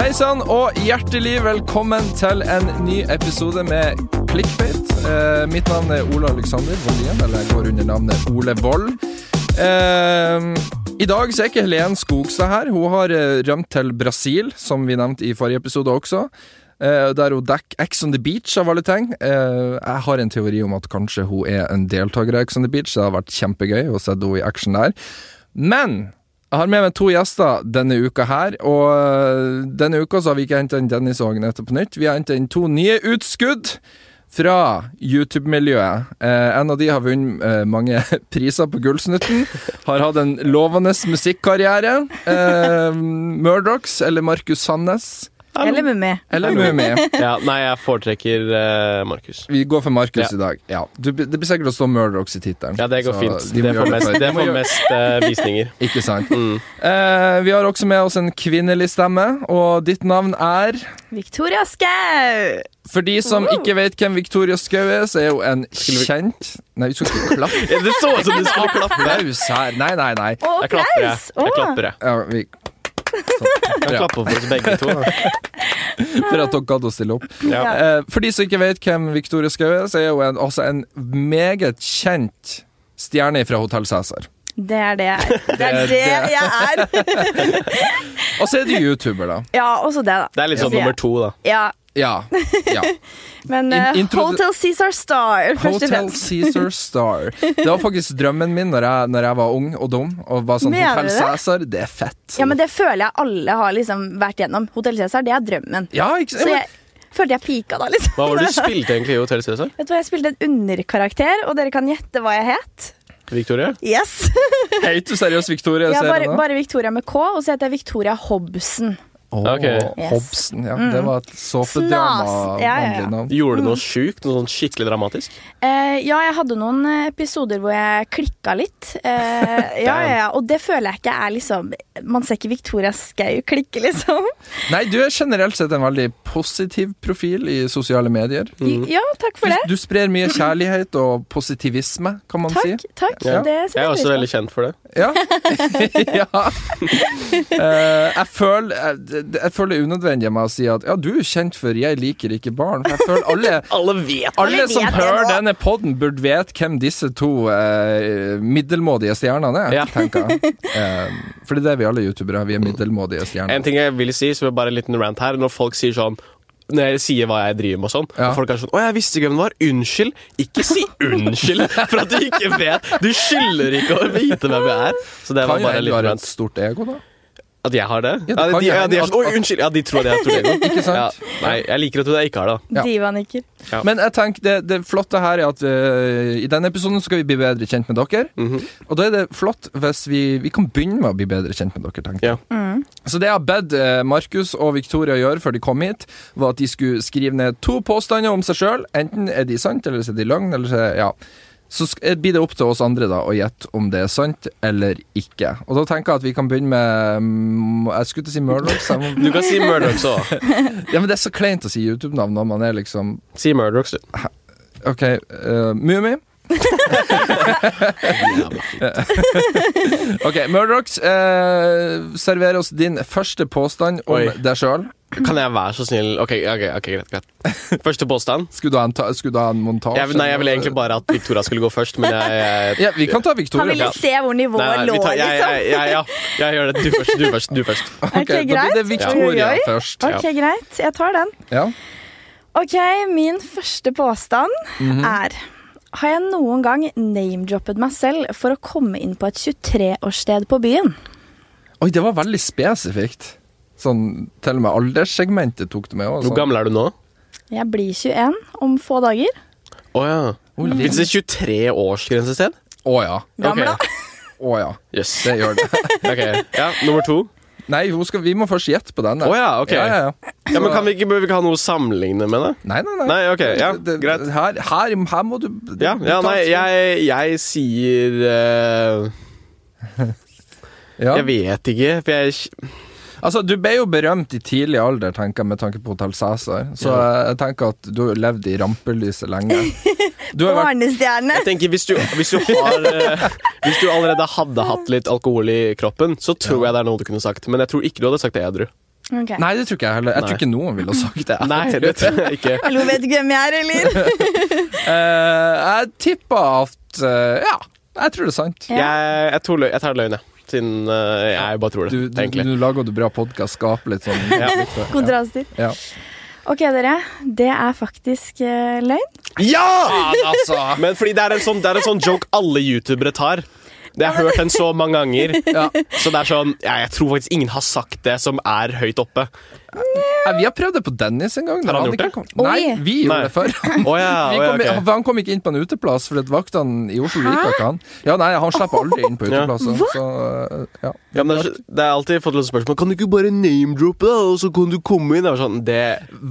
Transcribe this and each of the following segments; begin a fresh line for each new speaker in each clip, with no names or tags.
Hei sann, og hjertelig velkommen til en ny episode med Clickbait. Eh, mitt navn er Ole Alexander Vollien, eller jeg går under navnet Ole Voll. Eh, I dag så er ikke Helen Skogstad her. Hun har eh, rømt til Brasil, som vi nevnte i forrige episode også. Eh, der hun dekker Ex on the Beach av alle ting. Eh, jeg har en teori om at kanskje hun er en deltaker av Ex on the Beach. Det har vært kjempegøy å se henne i action der. Men jeg har med meg to gjester denne uka her, og øh, denne uka så har vi ikke henta inn Dennis og Agnete på nytt. Vi har henta inn to nye utskudd fra YouTube-miljøet. Eh, en av de har vunnet eh, mange priser på Gullsnutten. Har hatt en lovende musikkarriere. Eh, Murdochs eller Markus Sandnes.
Eller med meg.
Eller Mummi.
Ja, nei, jeg foretrekker eh, Markus.
Vi går for Markus
Ja.
i dag. Ja. Du, det blir sikkert å stå Murdochs i tittelen.
Ja, det går
Så
fint.
de må
Det
gjøre
får mest,
for-
det
de må
får
gjøre-
mest eh, visninger.
Ikke sant.
Mm.
Eh, vi har også med oss en kvinnelig stemme, og ditt navn er
Victoria Skau!
For de som ikke vet hvem Victoria Skau er, så er hun en
Skulle vi-
kjent Nei, vi skal ikke klappe.
Det så ut som du skulle klappe.
Applaus her. Nei, nei, nei.
Og
Jeg klapper, jeg.
applaus!
Jeg
Å,
klapper, jeg.
Ja, vi,
Jeg klapper for oss begge to.
for at dere gadd å stille opp.
Ja.
Eh, for de som ikke vet hvem Victoria Skau er, så er hun en, altså en meget kjent stjerne fra Hotell Cæsar.
Det er det jeg er. Det
er
er det jeg er.
Og så er du YouTuber, da.
Ja, også det, da.
Det er litt sånn
Ja.
nummer to, da.
Ja,
Ja. ja.
Men
In-
eh,
introdu-
Hotel Cæsar Star, først og
Hotel
fremst.
Cæsar Star. Det var faktisk drømmen min når jeg, når jeg var ung og dum. Og var sånn
Mener du
Hotel
det?
Cæsar, det er fett.
Ja, men det føler jeg alle har liksom vært gjennom. Hotel Cæsar, det er drømmen.
Ja, ikke
Så
sant?
jeg følte jeg pika da, liksom.
Hva var det du spilte egentlig i Hotell Cæsar?
Vet du hva, jeg spilte en underkarakter, og dere kan gjette hva jeg het.
Victoria?
Yes!
Heter du seriøst Victoria?
Jeg er
ser jeg
bare,
nå?
bare Victoria med K, og så heter jeg Victoria Hobson.
Åh,
Ok.
Yes.
Hobson, ja. Det var et såpedrama.
Snas. Ja, ja, ja.
vanlig navn.
Gjorde du noe sjukt? Noe sånn skikkelig dramatisk?
Eh, ja, jeg hadde noen eh, episoder hvor jeg klikka litt. Eh, ja, ja, ja, og det føler jeg ikke er liksom Man ser ikke Victoria Skau klikke, liksom.
Nei, du er generelt sett en veldig positiv profil i sosiale medier.
Ja, takk for det.
Du, du sprer mye kjærlighet og positivisme, kan man
Takk.
si.
takk.
Ja.
Det
Jeg er
setter
også
jeg
veldig
pris på.
kjent for det.
Ja. ja. Eh, jeg føler jeg, det- jeg føler det er unødvendig av meg å si at ja, du er kjent for 'Jeg liker ikke barn'. For jeg føler alle
Alle vet
alle
Alle
som
vet det
hører
nå.
denne podden burde vite hvem disse to eh, middelmådige stjernene er,
Ja.
tenker jeg. Eh, for det er det vi alle youtubere. Vi er middelmådige stjerner.
En ting jeg vil si, som er bare en liten rant her, når folk sier sånn når jeg sier hva jeg driver med og sånn,
Ja.
og folk er sånn 'Å, jeg visste ikke hvem det var. Unnskyld.' Ikke si unnskyld for at du ikke vet. Du skylder ikke å vite hvem jeg er. Så det
Kan
var
jo
bare en
hende du har
liten
et
rant.
stort ego, da.
At jeg har det?
Ja, det
Ja,
kan
de,
jo
ja, de er
hende
sånn,
at-
Oi, unnskyld. Ja, de tror at jeg har Tourette.
Ikke
Ja.
sant?
Nei, jeg liker at du ikke har det. da.
Ja.
Divanikker.
Men jeg tenker det, det flotte her er at eh, i denne episoden skal vi bli bedre kjent med dere.
Mhm.
Og da er det flott hvis vi, vi kan begynne med å bli bedre kjent med dere. tenker jeg. Så det jeg har bedt eh, Markus og Victoria gjøre før de kom hit, var at de skulle skrive ned to påstander om seg sjøl. Enten er de sant, eller så er de løgn, eller så er, ja. Så sk- eh, blir det opp til oss andre da å gjette om det er sant eller ikke. Og da tenker jeg at vi kan begynne med mm, Jeg skulle til å si Murdochs. jeg må-
Du kan si Murdochs òg.
Ja, men det er så kleint å si YouTube-navn når man er liksom
Si Murdochs, du.
OK, uh, Mummi. OK, Murdochs, eh, server oss din første påstand om
Oi.
deg sjøl.
Kan jeg være så snill Ok, ok, ok, greit. greit Første påstand.
Skulle du ha en, ta skulle du ha en montasje?
Jeg, nei, jeg ville egentlig bare at Victoria skulle gå først, men jeg, jeg
ja, Vi kan ta
Han
Victoria.
ville se hvor nivået
Nei, nei,
lå,
vi tar, jeg,
liksom.
jeg, jeg, ja, jeg gjør det. Du først. Du først. du først
Ok,
Ok,
Da blir det
greit.
Victoria
Oi, oi, oi.
først.
Ok, greit. Jeg tar den.
Ja.
Ok, min første påstand
Mhm.
er Har jeg noen gang name-droppet meg selv for å komme inn på et 23-årssted på byen?
Oi, det var veldig spesifikt. Sånn, Til og med alderssegmentet tok det med. Også, sånn.
Hvor gammel er du nå?
Jeg blir 21 om få dager.
Å ja. Fins det 23-årsgrense sted?
Å ja.
Gammel, da.
Å ja.
Yes.
Det gjør det.
Ok, ja, Nummer to.
Nei, hun skal, vi må først gjette på den.
Å ja, ok.
Ja, ja, ja.
Ja, men kan vi ikke, Bør vi ikke ha noe å sammenligne med, da?
Nei, nei, nei.
Nei, ok, ja,
Det- det-
greit.
Her, her, her må du
Ja, ja nei, jeg, jeg sier eh,
Ja.
Jeg vet ikke, for jeg
Altså, Du ble jo berømt i tidlig alder, tenker jeg, med tanke på Hotell Cæsar. Så jeg tenker at du har levd i rampelyset lenge. Du har vært
Barnestjerne.
Jeg tenker hvis du, hvis du har eh, Hvis du allerede hadde hatt litt alkohol i kroppen, så tror jeg det er noe du kunne sagt. Men jeg tror ikke du hadde sagt det edru.
Ok.
Nei, det tror ikke jeg heller. Jeg
Nei.
tror ikke noen ville ha sagt det.
Nei, det tror jeg ikke.
Hallo, vet du hvem jeg er, eller?
Eh, jeg tipper at eh, Ja, jeg tror det er sant.
Ja.
Jeg, jeg, tror lø jeg tar løgn, jeg. Siden eh, jeg bare tror det,
Du, du,
egentlig.
du lager du bra podkast, skaper litt sånn
Ja.
Kontraster.
Ja.
Ok, dere. Det er faktisk eh, løgn.
ja!
Altså,
Men fordi det er en sånn, det er en sånn joke alle youtubere tar. Jeg har hørt den så mange ganger.
ja.
Så det er sånn, ja, Jeg tror faktisk ingen har sagt det som er høyt oppe.
Eh, Vi har prøvd det på Dennis en gang.
Har han gjort
ikke
det?
kom-
Oi.
Nei, vi
Nei.
gjorde det før.
Å ja,
Vi
å ja,
kom, i-
ok.
Han kom ikke inn på en uteplass fordi at vaktene i Oslo liker ikke han. Ja, nei, han slipper aldri inn på
Ja.
uteplasser. Så, eh, ja.
ja, men det, er, så- det er alltid fått litt spørsmål sånn, Kan du ikke bare name-droppe, da, og så kan du komme inn? Det er sånn, det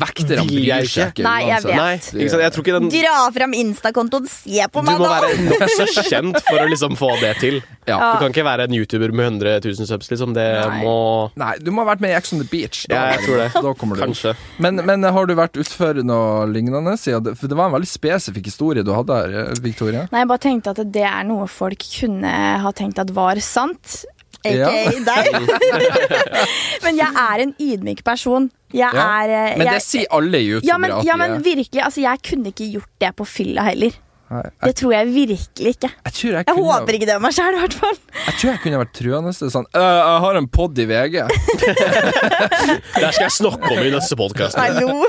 Vekterne
Vil jeg
bryr seg ikke.
Nei, jeg
uansett.
vet.
Nei, ikke sant? Jeg tror ikke den Du
Dra Mm. fram Insta-kontoen, se på meg,
må
da!
være nokså kjent for å liksom få det til.
Ja.
Du kan ikke være en YouTuber med 100 000 subs, liksom. Det
Nei.
må
Nei, du må ha vært med i Ex on the Beach.
Ja, jeg tror det.
Da kommer du.
Kanskje.
Men, men har du vært utfor noe lignende? siden det- For det var en veldig spesifikk historie du hadde her, eh, Victoria.
Nei, jeg bare tenkte at det er noe folk kunne ha tenkt at var sant.
Ja.
Aka deg. men jeg er en ydmyk person. Jeg
Ja.
er eh,
Men det
jeg,
sier alle i
ja, men,
youtubere at
ja,
de
men
er.
virkelig. Altså, jeg kunne ikke gjort det på fylla heller.
Nei, jeg,
Det tror jeg virkelig ikke.
jeg, tror jeg,
Jeg
kunne,
håper ikke det om meg sjæl, i hvert fall.
jeg tror jeg kunne vært truende. Det er sånn «Øh, Jeg har en pod i VG.
Der skal jeg snakke om i neste podkast.
Hallo.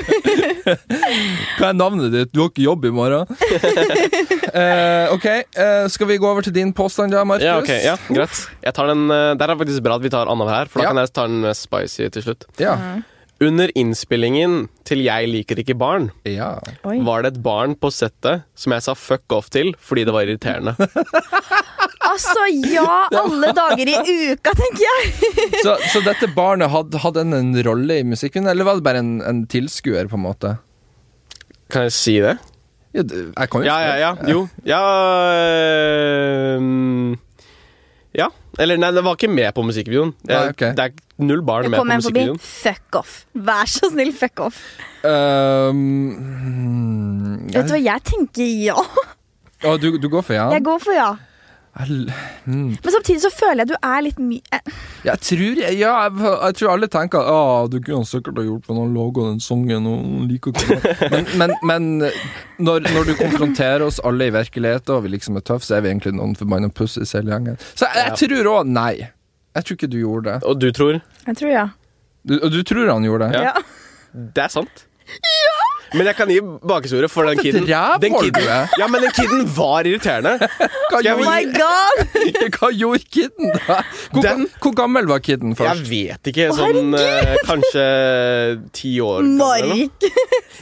Hva er navnet ditt? Du har ikke jobb i morgen. Eh, ok, eh, skal vi gå over til din påstand da, Markus?
Ja, ok, ja, greit jeg tar den, eh, Der er det faktisk bra at vi tar annenhver her, for da
Ja.
kan jeg ta den mest spicy til slutt.
Ja.
Mm.
Under innspillingen til Jeg liker ikke barn
ja.
Oi.
var det et barn på settet som jeg sa fuck off til fordi det var irriterende.
Altså, ja, alle dager i uka, tenker jeg.
Så, så dette barnet hadde, hadde en, en rolle i musikken, eller var det bare en, en tilskuer, på en måte?
Kan jeg si det?
Ja, du- jeg kan jo
Ja, ja, ja. Jo. Ja ehm, Ja. Eller nei, det var ikke med på musikkvideoen. Det
Nei,
er,
ok.
det er null barn
Jeg
med på
kom en forbi.
musikkvideoen.
Fuck off. Vær så snill, fuck off.
Øhm,
Vet du hva, jeg tenker ja.
Å, du, du går for Ehm, ja?
Jeg går for ja.
Jeg,
Men samtidig så føler jeg du er litt mye eh,
jeg tror ja, jeg, jeg tror alle tenker at «Ah, du kunne sikkert ha gjort for noen laga den sangen og han liker ikke det». Men, men, men når, når du konfronterer oss alle i virkeligheten og vi liksom er tøffe, så er vi egentlig noen forbanna pussis hele gjengen. Så jeg, jeg tror òg nei. Jeg tror ikke du gjorde det.
Og du tror
Jeg tror ja.
Du, og du tror han gjorde det?
Ja. Det er sant. Men jeg kan gi bakhistorie for den
For et
kiden.
rævhål
Den kiden,
du er.
ja, men den kiden var irriterende.
Hva,
Skal jeg
Oh
gjorde,
my god!
hva gjorde kiden, da? Hvor,
Den-
hvor gammel var kiden
Jeg
først?
vet ikke. Sånn eh, kanskje ti år. gammel eller noe.
Mark.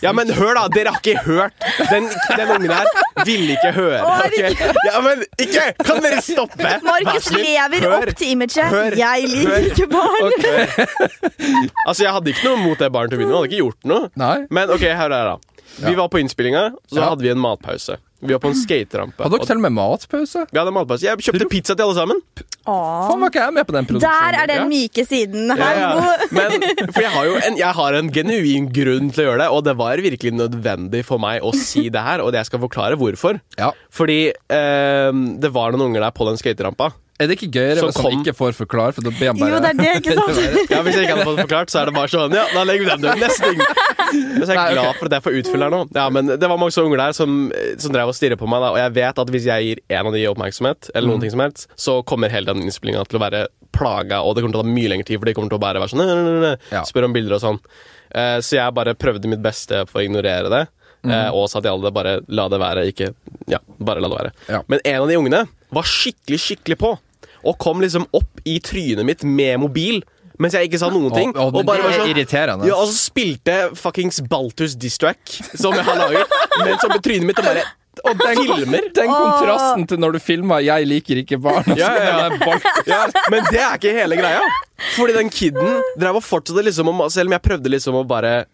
Ja, men hør, da! Dere har ikke hørt. Den, den ungen her ville ikke høre.
Å,
ok? Ja, men ikke! Kan dere stoppe? Vær
Markus
så snill,
lever
hør.
opp til imaget.
Hør.
Jeg liker
Hør.
ikke barn.
Altså, jeg hadde ikke noe mot det barnet til å begynne med. Jeg hadde ikke gjort noe.
Nei?
Men ok, her er det. da. Vi
Ja.
var på innspillinga, så
Ja.
hadde vi en matpause. Vi var på en skaterampe.
Hadde dere til og med matpause?
Vi hadde en matpause. Jeg kjøpte pizza til alle sammen.
Åh.
Faen, var ikke jeg med på den produksjonen?
Der er den
Ja.
myke siden.
Ja,
Hallo.
ja. Men, for jeg har jo en, jeg har en genuin grunn til å gjøre det, og det var virkelig nødvendig for meg å si det her, og jeg skal forklare hvorfor.
Ja.
Fordi eh, det var noen unger der på den skaterampa.
Er det ikke gøyere
Som
hvis han
kom-
ikke får forklare, for da blir han bare
Jo, det er det, ikke sant?
Ja, Hvis jeg ikke hadde fått forklart, så er det bare sånn Ja, da legger vi den død. Neste ting. Så jeg
Nei, ok.
er glad for at jeg får utfylle her nå. Ja, men Det var mange sånne unger der som, som drev og stirret på meg, da, og jeg vet at hvis jeg gir en av de oppmerksomhet, eller
Mm.
noen ting som helst, så kommer hele den innspillinga til å være plaga, og det kommer til å ta mye lengre tid, for de kommer til å bare være sånn «Nei, nei, nei, nei»,
Ja.
Spørre om bilder og sånn. Eh, så jeg bare prøvde mitt beste for å ignorere det, eh,
Mm.
og sa til alle bare la det være, ikke Ja, bare la det være.
Ja.
Men en av de ungene var skikkelig, skikkelig på. Og kom liksom opp i trynet mitt med mobil mens jeg ikke sa noen ting.
Å, å, men det
var sånn-
er irriterende.
Ja, og så spilte jeg fuckings Baltus Distrack, som jeg har laget, mens opp i trynet mitt og bare Og den filmer.
Den kontrasten til når du filma 'Jeg liker ikke barn'. altså.
Ja, ja, ja. ja, men det er ikke hele greia. Fordi den kiden drev og fortsatte liksom å Selv om jeg prøvde liksom å bare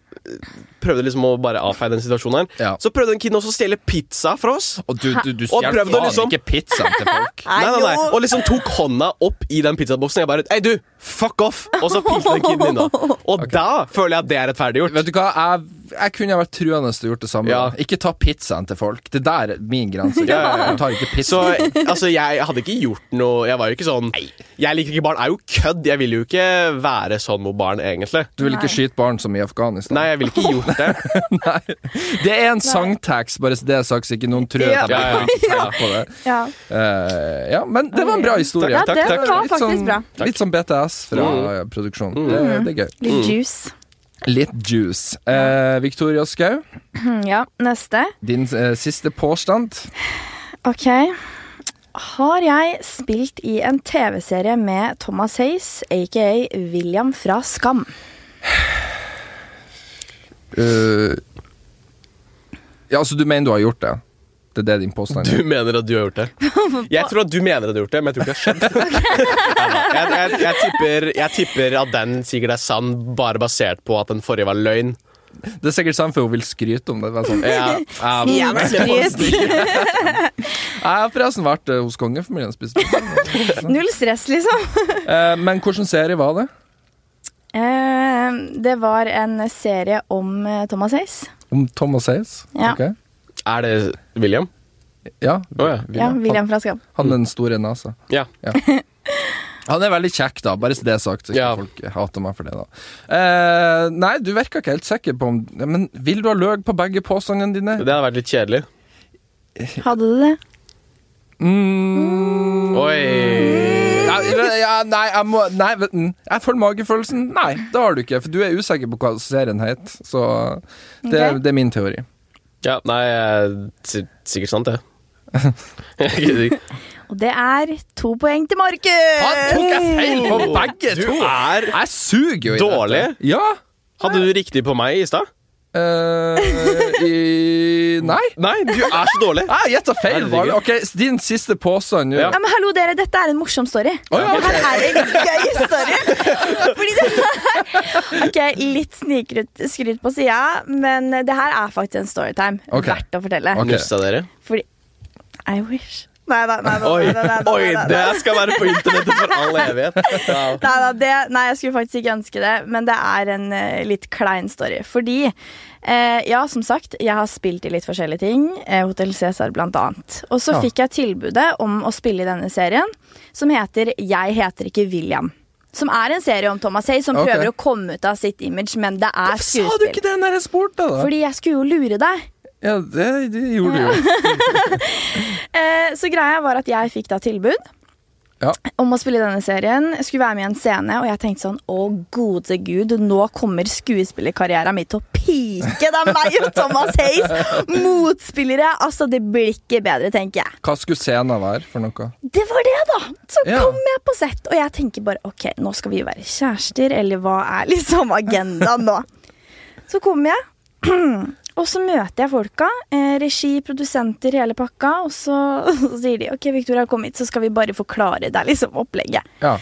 Prøvde liksom å bare avfeie den situasjonen her,
Ja.
så prøvde den kiden også å stjele pizza fra oss.
Og du, du, du
Og
stjal
prøvde
faen
liksom-
ikke pizzaen til folk.
Nei, nei, nei.
Hallo.
Og liksom tok hånda opp i den pizzaboksen. Jeg bare Hei, du! Fuck off! Og så pilte den kiden innom. Og da føler jeg at det er rettferdiggjort.
Vet du hva, jeg jeg kunne ha vært truende og gjort det samme.
Ja.
Ikke ta pizzaen til folk. Det der er min grense.
Ja, ja, ja.
Du tar ikke pizza.
Så altså, jeg hadde ikke gjort noe Jeg var jo ikke sånn Jeg liker ikke barn. Jeg er jo kødd. Jeg vil jo ikke være sånn mot barn, egentlig.
Du vil
Nei.
ikke skyte barn som i Afghanistan.
Nei, jeg ville ikke gjort det.
Nei. Det er en sangtax, bare så det er sagt, så ikke noen tror
Ja.
at jeg
Ja, ja,
ikke tenker på det.
Ja.
Eh, ja, men det var en bra historie.
Ja, det var
Litt sånn,
faktisk bra.
Litt sånn BTS fra produksjonen. Det, det er gøy.
Mm.
Litt juice.
Litt juice. Eh, Victoria Skau,
Hm, Ja, neste.
din eh, siste påstand.
Ok. Har jeg spilt i en TV-serie med Thomas Hayes, aka William fra Skam?
Eh, ja, altså, du mener du har gjort det? Det er det din påstand
Du
er?
mener at du har gjort det. Jeg tror at du mener at du har gjort det, men jeg tror ikke det har skjedd. Ja, Jeg, jeg, jeg, tipper, jeg tipper at den sikkert er sann, bare basert på at den forrige var løgn.
Det er sikkert sant, for hun vil skryte om det. men Sånn.
Ja, ja, men-
Ja, men skryt.
Jeg har forresten vært eh, hos kongefamilien og spist pizza.
Null stress, liksom.
Eh, men hvilken serie var det?
Eh, Det var en serie om eh, Thomas Hayes.
Om Thomas Hayes?
Ja.
Ok.
Er det William?
Ja,
Å, ja.
Ja, William fra Skam.
Han, han med den store nesa.
Ja.
Han er veldig kjekk, da, bare så det er sagt. Så ikke
Ja.
folk hater meg for det, da. Eh, nei, du virker ikke helt sikker på om Men vil du ha løg på begge påstandene dine?
Det hadde vært litt kjedelig.
Hadde du det?
Mm.
Oi.
Ja, ja, nei, jeg må Nei, vet du, mm, jeg følger magefølelsen. Nei, det har du ikke, for du er usikker på hva serien het. Så det,
Ok.
det er min teori.
Ja, nei, eh, si- sikkert sant, det. Jeg gidder ikke.
Og det er to poeng til
Han
Markus!
tok jeg feil på begge
Du
to!
er
Jeg suger jo i
Dårlig.
dette. Ja.
Hadde du riktig på meg i stad?
Eh, i, nei.
Nei, du er så dårlig.
Jeg gjetta feil.
Herregud.
Bare. Ok, Din siste påstand nå.
Ja.
Ja, men hallo dere, Dette er en morsom story.
Å, ja, ok.
Det her er en gøy story. Fordi det her Ok, Litt snikryt- skryt på sida, men det her er faktisk en storytime.
Ok.
Verdt å fortelle.
Ok.
Nussa dere.
Fordi I wish. Nei da, nei da.
Oi,
nei, da, nei, da,
oi,
nei, da,
det
nei, da.
skal være på internettet for all evighet. Ja.
Nei, da, det, nei, jeg skulle faktisk ikke ønske det, men det er en eh, litt klein story. Fordi, eh, ja, som sagt, jeg har spilt i litt forskjellige ting. Eh, Hotell Cæsar blant annet. Og så
Ja.
fikk jeg tilbudet om å spille i denne serien, som heter Jeg heter ikke William. Som er en serie om Thomas Hay, som
Ok.
prøver å komme ut av sitt image, men det er
Sa du
skuespill.
ikke det når jeg spurte, da?
Fordi jeg skulle jo lure deg.
Ja, det, det gjorde du jo.
Eh, så greia var at jeg fikk da tilbud.
Ja.
om å spille i denne serien. Jeg skulle være med i en scene, og jeg tenkte sånn Å, gode gud, nå kommer skuespillerkarrieren min til å pike! Det er meg og Thomas Hayes! Motspillere! Altså, det blir ikke bedre, tenker jeg.
Hva skulle scenen være for noe?
Det var det, da! Så
Ja.
kom jeg på sett, og jeg tenker bare OK, nå skal vi være kjærester, eller hva er liksom agendaen nå? Så kommer jeg, og så møter jeg folka. Eh, regi, produsenter, hele pakka. Og så, så sier de OK, Victoria, kom hit, så skal vi bare forklare deg liksom opplegget.
Ja.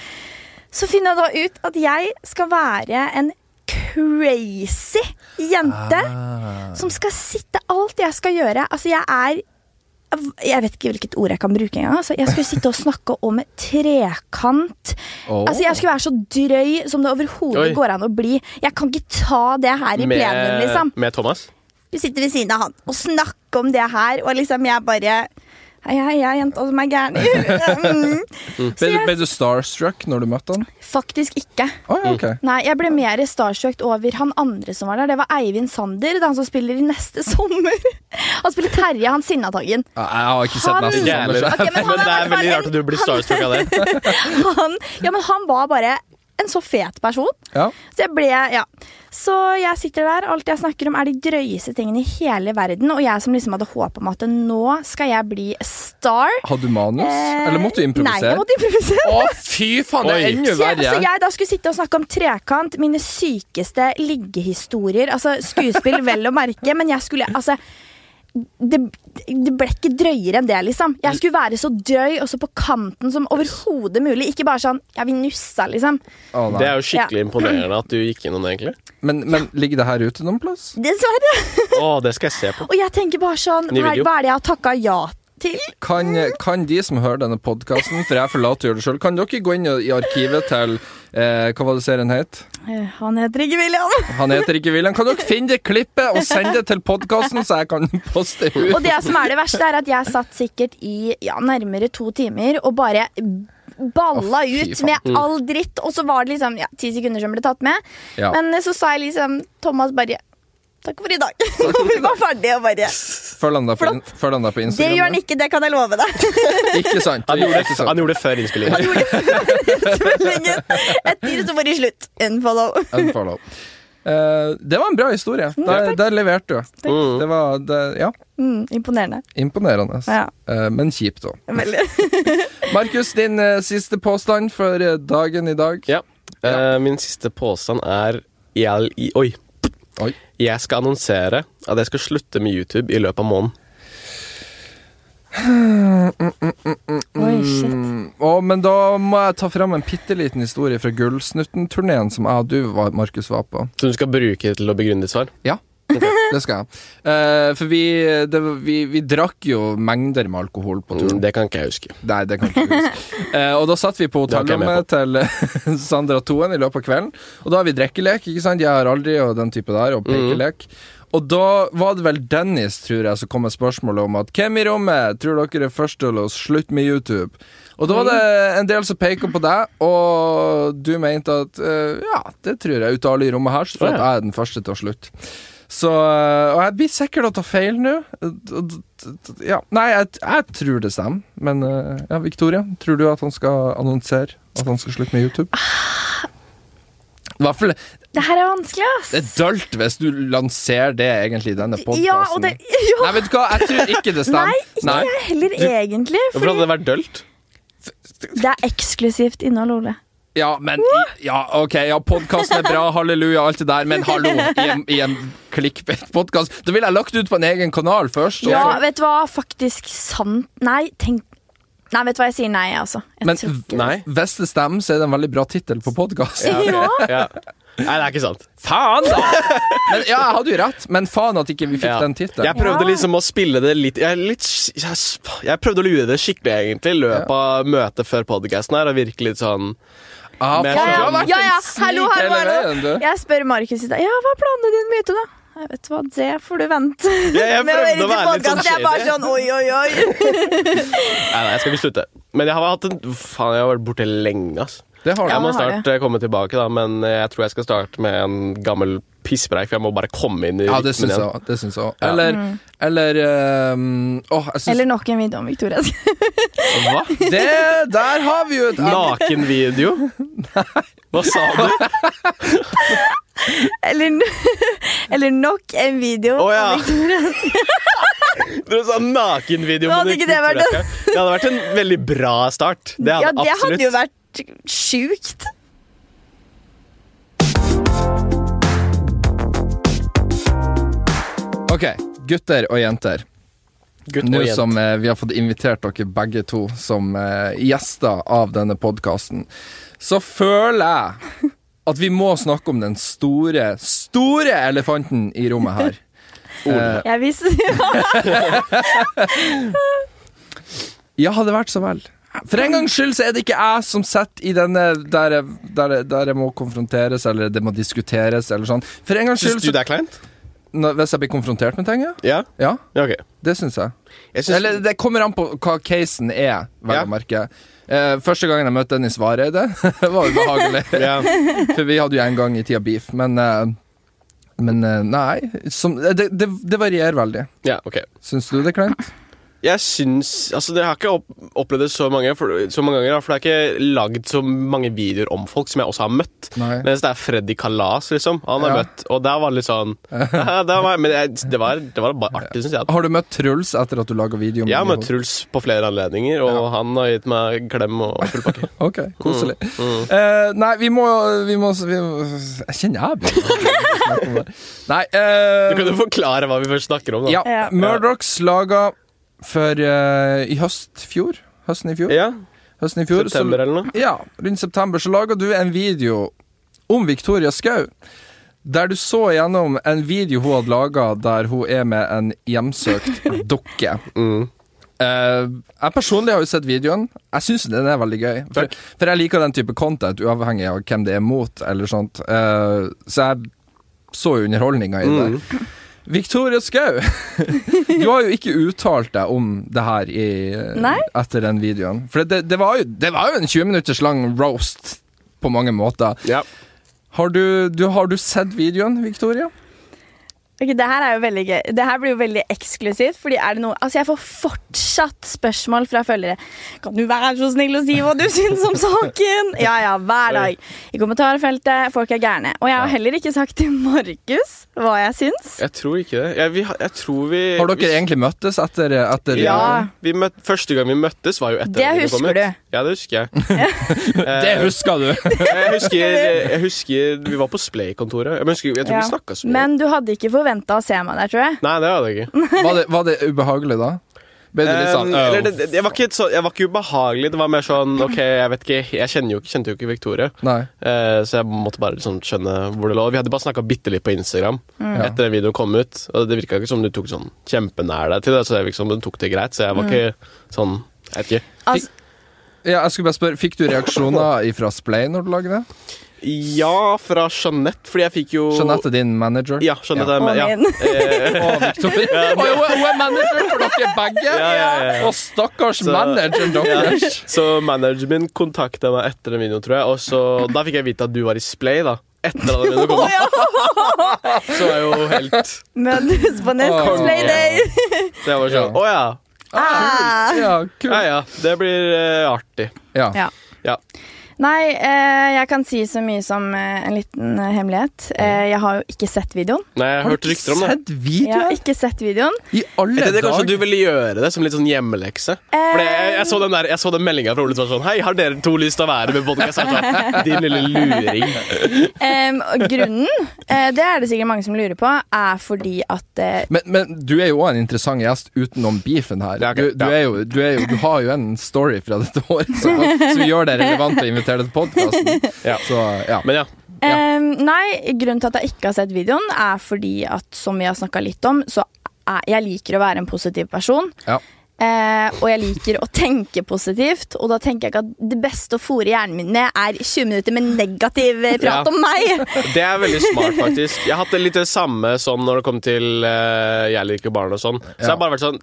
Så finner jeg da ut at jeg skal være en crazy jente
Ah.
som skal sitte alt jeg skal gjøre. Altså, jeg er Jeg vet ikke hvilket ord jeg kan bruke engang. Altså, jeg skulle sitte og snakke om trekant.
Åh.
Altså, jeg skulle være så drøy som det
Oi.
overhodet går an å bli. Jeg kan ikke ta det her i plenum, liksom.
Med, med Thomas.
Du sitter ved siden av han og snakker om det her, og liksom jeg bare Hei, hei, jeg er jenta som er gæren. Mm.
Ble, du- ble du starstruck når du møtte han?
Faktisk ikke.
Å ja, ok.
Nei, jeg ble mer starstruck over han andre som var der. Det var Eivind Sander. Det er han som spiller i Neste sommer. Han spiller Terje, han Sinnataggen.
Ja, Jeg har ikke sett
Han-
nesten
Ikke jeg
sånn.
heller.
Ok, men han
men
er i hvert
det er
fall
veldig rart
en-
at du blir starstruck av det.
Han, ja, men han var bare en så fet person.
Ja.
Så jeg ble, ja. Så jeg sitter der, alt jeg snakker om er de drøyeste tingene i hele verden, og jeg som liksom hadde håp om at nå skal jeg bli star.
Hadde du manus,
Eh,
eller måtte du
Nei, jeg
improvisere?
måtte improvisere.
Å, fy faen, det er
Oi.
enda
Så jeg, så
verre!
jeg da skulle sitte og snakke om trekant, mine sykeste liggehistorier. Altså skuespill, vel å merke, men jeg skulle altså det, det ble ikke drøyere enn det, liksom. Jeg skulle være så drøy og så på kanten som overhodet mulig. Ikke bare sånn Ja, vi nussa, liksom.
Å, nei.
Det er jo skikkelig imponerende at du gikk innom det, egentlig.
men, men ligger det her ute noen plass?
Dessverre.
Å, det skal jeg se på.
Og jeg tenker bare sånn
Ny
her,
video.
Hva er det jeg har takka ja til.
Kan,
Mm.
kan de som hører denne podkasten, for jeg forlater å gjøre det sjøl, kan dere gå inn i arkivet til eh, Hva var det serien het?
Eh, Han heter ikke William.
Han heter ikke William. Kan dere finne det klippet og sende det til podkasten, så jeg kan poste det
Og
ut?
det som er det verste, er at jeg satt sikkert i ja, nærmere to timer og bare
Å,
balla
fy
ut
faen. Mm.
med all dritt. Og så var det liksom ja, ti sekunder som ble tatt med.
Ja.
Men eh, så sa jeg liksom Thomas bare Takk for i dag. Og vi var ferdige og bare
Følg han deg på, in-
Flott.
følg han deg på
Det
Instagram.
gjør han
da.
ikke, det kan jeg love deg.
Ikke sant.
Han gjorde,
Ikke
det,
sant.
han gjorde det før
Han
innspillingen.
gjorde det før innspillingen. Etter så var det slutt. Unfollow.
Unfollow. Eh, det var en bra historie. Der, der leverte du.
Mm.
Det var det, Ja,
Mm, imponerende.
imponerende.
Ja.
Eh, men kjipt òg.
Veldig.
Markus, din eh, siste påstand for eh, dagen i dag.
Ja. Eh, min siste påstand er jeg, i- Oi.
Oi.
Jeg skal annonsere at jeg skal slutte med YouTube i løpet av måneden.
Oi, shit.
Mm, å, men da må jeg ta fram en bitte liten historie fra Gullsnutten-turneen som jeg og du, var, Markus, var på.
Så du skal bruke det til å begrunne ditt svar?
Ja. Det skal jeg. Eh, for vi, det, var- vi, vi drakk jo mengder med alkohol på turen.
Mm, Det kan ikke jeg huske.
Nei, det kan ikke jeg huske. Eh, og da satt vi på
Det var ikke jeg med
hotellrommet til eh, Sandra Toen i løpet av kvelden. Og da har vi drikkelek, ikke sant? Jeg har aldri og den type der, og
Mhm.
pekelek. Og da var det vel Dennis, tror jeg, som kom med spørsmålet om at hvem i rommet tror dere er først til å slutte med YouTube? Og da var det
Mhm.
en del som peker på deg, og du mente at eh, ja, det tror jeg, ut av alle i rommet her, så tror jeg at jeg er den første til å slutte. Så øh, Og jeg blir sikkert å ta feil nå. D- d- d- d- Ja. Nei, jeg, jeg tror det stemmer. Men øh, ja, Victoria, tror du at han skal annonsere at han skal slutte med YouTube? I hvert fall
Det her er vanskelig, ass.
Det er dølt hvis du lanserer det egentlig i denne podkasten.
Ja, og det ja,
Nei, vet du hva, jeg tror ikke det stemmer.
Nei, ikke jeg heller, egentlig.
Hvorfor hadde
Fordi
det vært dølt?
det er eksklusivt innhold, Ole.
Ja, men i, Ja, OK, ja, podkasten er bra, halleluja, alt det der, men hallo, i en, i en clickbait-podkast Da ville jeg lagt ut på en egen kanal først. og så-
Ja, vet du hva? Faktisk sant Nei, tenk Nei, vet du hva? Jeg sier nei, altså. Jeg
Men
tror ikke det.
Nei.
hvis det stemmer, så er det en veldig bra tittel på podkasten.
Ja.
Ja. Nei, det er ikke sant.
Faen, da! Men, ja, jeg hadde jo rett, men faen at ikke vi fikk
Ja.
den tittelen.
Jeg prøvde
Ja.
liksom å spille det litt Jeg, er litt, sk- jeg, s- jeg prøvde å lure det skikkelig, egentlig, i løpet av møtet før podcasten her, og virke litt sånn
Ah, faen,
Men-
du
Ja,
har
ja,
vært
ja, ja.
en snik
Hallo, hallo,
hele veien,
hallo.
du.
Jeg spør Markus i dag. Ja, hva er planene dine med YouTube, da? Jeg vet du hva, det får du vente.
jeg
Med
prøvde
øre
å
til
være litt sånn
podcast, Jeg er bare
shady.
sånn oi, oi, oi.
Nei, nei, jeg skal ikke slutte. Men jeg har hatt en Faen, jeg har vært borte lenge, ass.
Det har du.
Jeg
Ja,
må
men har
snart eh, komme tilbake, da, men eh, jeg tror jeg skal starte med en gammel pisspreik, for jeg må bare komme inn i
Ja, det syns jeg
rytmen igjen.
òg. Det syns jeg òg.
Ja.
Eller, eller ehm, Åh, jeg syns
Mm. Eller nok en video om Victoria.
Hva?
Det Der har vi jo et
Nakenvideo? Hva sa du?
Eller, eller nok en video.
Å ja! Dere sa
Nå
nakenvideo. men
hadde ikke det vært
kutter dere. det hadde vært en veldig bra start. Det hadde
ja, det
absolutt.
hadde jo vært sjukt.
Ok, gutter og jenter.
Gutt
Nå
og jente.
som eh, vi har fått invitert dere begge to som eh, gjester av denne podkasten, så føler jeg at vi må snakke om den store, store elefanten i rommet her. Eh,
Jeg visste
Ja, det vært så vel. For en gangs skyld så er det ikke jeg som sitter i denne der, jeg- der, jeg- der jeg må konfronteres, eller det må diskuteres, eller sånn. For en gangs skyld
Syns du
så,
det er kleint?
Nå, Hvis jeg blir konfrontert med ting, ja.
Ja?
ja
ja ok.
det syns jeg.
Jeg syns-
Eller det kommer an på hva casen er, vel
Ja.
å merke. Eh, første gangen jeg møtte Dennis Vareide, var ubehagelig.
ja.
For vi hadde jo en gang i tida beef, men eh, Men eh, nei. Som, eh, det, det, det varierer veldig.
ja, ok.
Syns du det er kleint?
Jeg syns Altså, jeg har ikke opp opplevd det så mange, for, så mange ganger, da, for det er ikke lagd så mange videoer om folk som jeg også har møtt.
Nei.
Mens det er Freddy Kalas, liksom. Han har
Ja.
møtt, og der var det litt sånn det var, Men jeg, det, var, det var bare artig, syns jeg.
Har du møtt Truls etter at du laga video? om
Jeg har
Lillehold?
møtt Truls på flere anledninger, og han har gitt meg klem og full pakke.
Ok, koselig.
Mm,
Eh, nei, vi må, vi må vi, Jeg kjenner jeg begynner å snakke om det. Nei eh,
Du kan jo forklare hva vi først snakker om, da.
ja,
Ja.
Murdrocks laga for eh, i høst fjor. Høsten i fjor.
Ja,
Høsten i fjor så-
September eller noe.
ja, rundt september så laga du en video om Victoria Skau. Der du så gjennom en video hun hadde laga der hun er med en hjemsøkt dukke.
Mm.
Eh, jeg personlig har jo sett videoen. Jeg syns den er veldig gøy. For, for jeg liker den type content, uavhengig av hvem det er mot, eller sånt. Eh, så jeg så jo underholdninga i det. Victoria Skau, du har jo ikke uttalt deg om det her i,
Nei.
etter den videoen. For det, det, var, jo, det var jo en 20 minutters lang roast på mange måter.
Ja.
Har du, du, har du sett videoen, Victoria?
Ok, Det her er jo veldig gøy. Det her blir jo veldig eksklusivt. Fordi er det noe, altså Jeg får fortsatt spørsmål fra følgere. Kan du være så snill å si hva du syns om saken? Ja, ja, hver dag. I kommentarfeltet. Folk er gærne. Og jeg har heller ikke sagt til Markus hva jeg syns.
Jeg tror ikke det. Jeg, vi, har- jeg tror vi
Har dere
vi-
egentlig møttes etter, etter
Ja.
Vi møtt, første gang vi møttes, var jo etter
Det
at videoen kom
husker
ut.
du.
Ja, det husker jeg. Eh,
Det husker du!
jeg, husker, jeg husker Vi var på Splay-kontoret. Jeg, husker- jeg tror vi snakka så mye.
Men du hadde ikke forventa å se meg der, tror jeg.
Nei, det hadde jeg ikke.
Var det, var det ubehagelig da? Ble du litt sånn
Um,
«Åh,
eller, det, det- jeg, var ikke så, jeg var ikke ubehagelig. Det var mer sånn OK, jeg vet ikke Jeg kjenner jo, ikke- kjente jo ikke Victoria,
Nei.
eh, så jeg måtte bare liksom skjønne hvor det lå. Vi hadde bare snakka bitte litt på Instagram etter den videoen kom ut, og det virka ikke som du tok sånn kjempenær deg til det, så jeg liksom, du tok det greit, så jeg var ikke sånn Jeg vet ikke.
Altså,
Ja, jeg skulle bare spørre, Fikk du reaksjoner fra Splay når du lagde det?
Ja, fra Jeanette, fordi jeg fikk jo
Jeanette, din manager?
Ja, Jeanette er
og
med. Ja. Eh,
min.
Og Victoria. Og hun er- hun er manager for dere begge!
Ja, ja, ja.
Og stakkars
Så-
manager deres!
Så manageren min kontakta meg etter den videoen, tror jeg. Og så, da fikk jeg vite at du var i Splay, da. Etter at den videoen kom. Så er jo helt
Møtes på neste
Åh.
Playday.
Det var sånn Å ja.
Ah.
Ja,
Ja
kult.
ja. Det blir eh, artig.
Ja.
Ja.
Ja.
Nei, eh, jeg kan si så mye som eh, en liten eh, hemmelighet. Eh, jeg har jo ikke sett videoen.
Nei, jeg har hørt
ikke
rykter om det.
sett
Jeg har
videoen?
ikke sett videoen.
I alle
Jeg tenkte kanskje du
dager?
ville gjøre det som litt sånn hjemmelekse. For jeg, jeg, så den der- jeg så den meldinga fra Ole som var sånn Hei, har dere to lyst til å være med i podcast? Jeg var sånn, Din lille luring.
Em, og grunnen, eh, det er det sikkert mange som lurer på, er fordi at eh,
Men, men du er jo òg en interessant gjest utenom beefen her.
Ja, ok,
Du, du,
ja.
er jo, du, er jo, du har jo en story fra dette året som, som gjør det relevant å invitere deg til podkasten.
Ja.
Så ja.
Men ja.
em, Nei, grunnen til at jeg ikke har sett videoen, er fordi at, som vi har snakka litt om, så er, jeg liker å være en positiv person.
ja.
Eh, og jeg liker å tenke positivt, og da tenker jeg ikke at det beste å fòre hjernen min med, er 20 minutter med negativ eh, prat
Ja.
om meg.
Det er veldig smart, faktisk. Jeg har hatt det litt det samme sånn når det kom til eh, jeg liker barn og sånn. Så jeg har bare vært sånn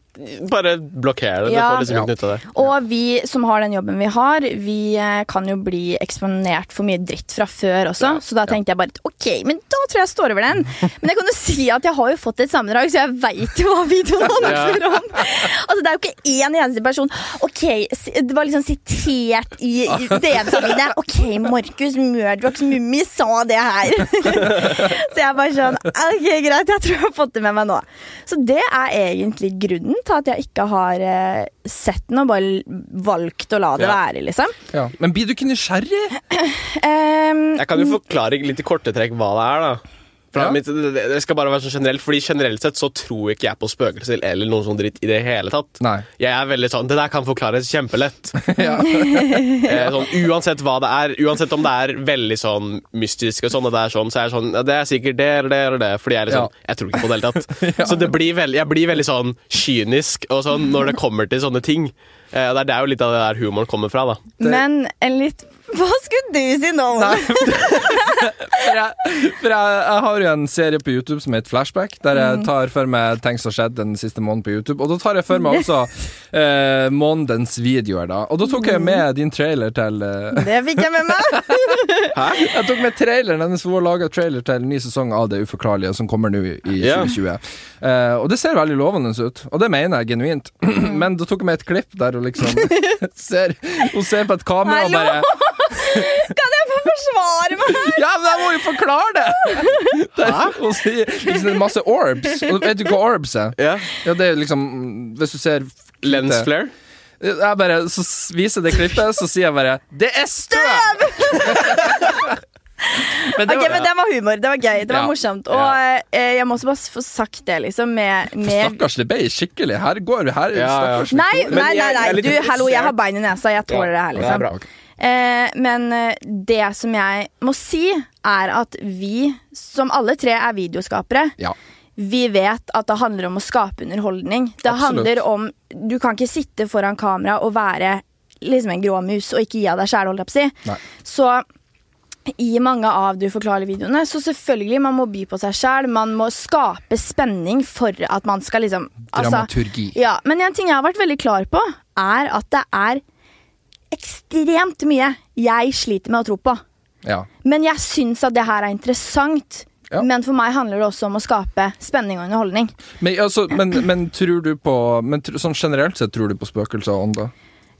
Bare blokker det. Du
Ja.
får liksom
Ja.
ikke nytte av det.
Og vi som har den jobben vi har, vi eh, kan jo bli eksponert for mye dritt fra før også, så da tenkte jeg bare ok, men da tror jeg jeg står over den. Men jeg kan jo si at jeg har jo fått et sammendrag, så jeg veit jo hva videoen handler om. Altså, det er jo ikke én eneste person Ok, s- det var liksom sitert i, i DM-ene mine. Ok, Markus Murdrocks Mummi sa det her. Så jeg bare sånn Ok, greit, jeg tror jeg har fått det med meg nå. Så det er egentlig grunnen til at jeg ikke har eh, sett den og bare l- valgt å la det
Ja.
være, liksom.
ja. Men blir du ikke nysgjerrig?
Ehm,
Jeg kan jo forklare litt i korte trekk hva det er, da. Fra
Ja.
mitt, det, det- det skal bare være sånn generelt, fordi generelt sett så tror ikke jeg på spøkelser eller noe sånn dritt i det hele tatt.
Nei.
Jeg er veldig sånn, Det der kan forklares kjempelett.
Ja.
Eh, sånn, uansett hva det er, uansett om det er veldig sånn mystisk, og sånn, og det er sånn, så er jeg sånn ja, Det er sikkert det eller det eller det, fordi jeg er liksom, jeg tror ikke på det hele tatt. Så det blir veld, jeg blir veldig sånn kynisk og sånn når det kommer til sånne ting. Eh, og det er der jo litt av det der humoren kommer fra, da.
men en litt Hva skulle du si nå?
Nei. For, jeg, for jeg, jeg har jo en serie på YouTube som heter Flashback, der jeg tar for meg ting som har skjedd den siste måneden på YouTube. Og da tar jeg for meg også eh, månedens videoer, da. Og da tok jeg med din trailer til eh,
Det fikk jeg med meg.
Jeg tok med traileren hennes for hun laga trailer til en ny sesong av Det uforklarlige, som kommer nå i i
Ja.
2020. Eh, og det ser veldig lovende ut, og det mener jeg genuint. Men da tok jeg med et klipp der hun liksom ser Hun ser på et kamera og bare
Hallo! Kan jeg få forsvare meg?
Ja, men jeg må jo forklare det! Der, hun sier liksom, det er masse orbs. Og vet du hva orbs er?
Ja.
Ja, det er liksom Hvis du ser
Lens flare.
Jeg bare så s- viser det klippet, så sier jeg bare 'Det er støv!' men det
Ok,
var,
men Det var humor. Det var gøy. Det var
Ja.
morsomt. Og eh, jeg må også bare få sagt det, liksom, med, med
Stakkars, det ble skikkelig. Her går her
Ja, ja.
stakkars.
Nei,
Men
nei, nei.
jeg- jeg er
nei.
litt
Du, hallo, jeg
interessert.
har bein i nesa. Jeg tåler det her,
Det er
liksom.
bra.
Eh, men eh, det som jeg må si, er at vi, som alle tre er videoskapere,
Ja.
vi vet at det handler om å skape underholdning. Det
Absolutt.
handler om Du kan ikke sitte foran kamera og være liksom en grå mus og ikke gi av deg sjæl, holdt jeg på å si.
Nei.
Så i mange av du forklarer videoene, så selvfølgelig man må by på seg sjæl. Man må skape spenning for at man skal liksom altså,
Dramaturgi.
ja, Men en ting jeg har vært veldig klar på, er at det er ekstremt mye jeg sliter med å tro på.
Ja.
Men jeg syns at det her er interessant.
Ja.
Men for meg handler det også om å skape spenning og underholdning.
Men, altså, men, men tror du på men, tr- Sånn generelt sett, tror du på spøkelser og ånder?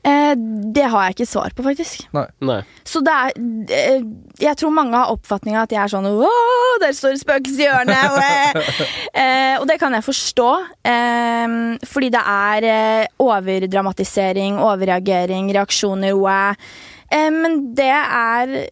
Eh, det har jeg ikke svar på, faktisk.
Nei.
Nei.
Så det er eh, Jeg tror mange har oppfatninga at jeg er sånn Åh, der står spøkelset i hjørnet! Og, eh, eh, og det kan jeg forstå. Eh, fordi det er eh, overdramatisering, overreagering, reaksjoner, wow. Eh, men det er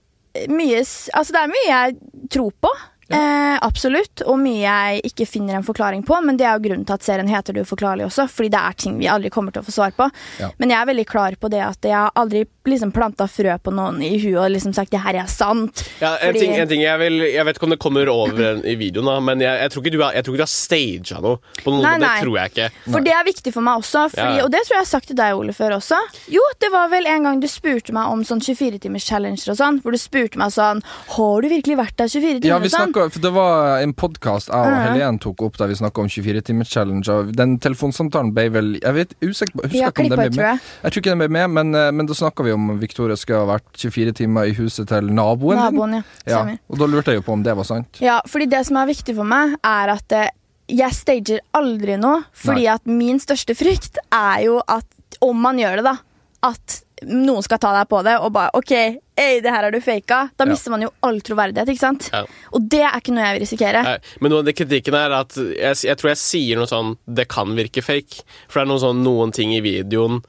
mye s- Altså, det er mye jeg tror på. Eh, absolutt. Og mye jeg ikke finner en forklaring på. Men det er jo grunnen til at serien heter Det uforklarlige også, fordi det er ting vi aldri kommer til å få svar på.
Ja.
Men jeg er veldig klar på det at jeg har aldri liksom planta frø på noen i huet og liksom sagt det her er sant.
Ja, en,
Fordi-
ting, en ting jeg vil Jeg vet ikke om det kommer over i videoen, da, men jeg, jeg, tror ikke du har, jeg tror ikke du har staged noe. På noen,
Nei, nei.
Det tror jeg ikke.
For det er viktig for meg også, fordi,
Ja, ja.
og det tror jeg jeg har sagt til deg, Ole, før også. Jo, det var vel en gang du spurte meg om sånn 24-timers-challenger og sånn, hvor du spurte meg sånn Har du virkelig vært der 24 timer?
Ja, vi
og sånn?
snakket, for Det var en podkast jeg og
Ja.
Helen tok opp der vi snakka om 24-timers-challenge. og Den telefonsamtalen ble vel Jeg vet, usikker, på- husker
Ja,
ikke om den ble
klippet,
med.
tror jeg.
Jeg tror ikke den ble med, men, eh, men da snakka vi om Victoria skulle ha vært 24 timer i huset til naboen. din.
Naboen, ja.
ja.
Stemmer.
Og da lurte jeg jo på om det var sant.
Ja, fordi det som er viktig for meg, er at eh, jeg stager aldri noe. Fordi
Nei.
at min største frykt er jo at om man gjør det, da At noen skal ta deg på det og bare OK, ei, det her er du faka. Da
Ja.
mister man jo all troverdighet, ikke sant?
Ja.
Og det er ikke noe jeg vil risikere.
Nei, Men noe av det kritikken er at jeg, jeg tror jeg sier noe sånn Det kan virke fake. For det er noe sånn, noen ting i videoen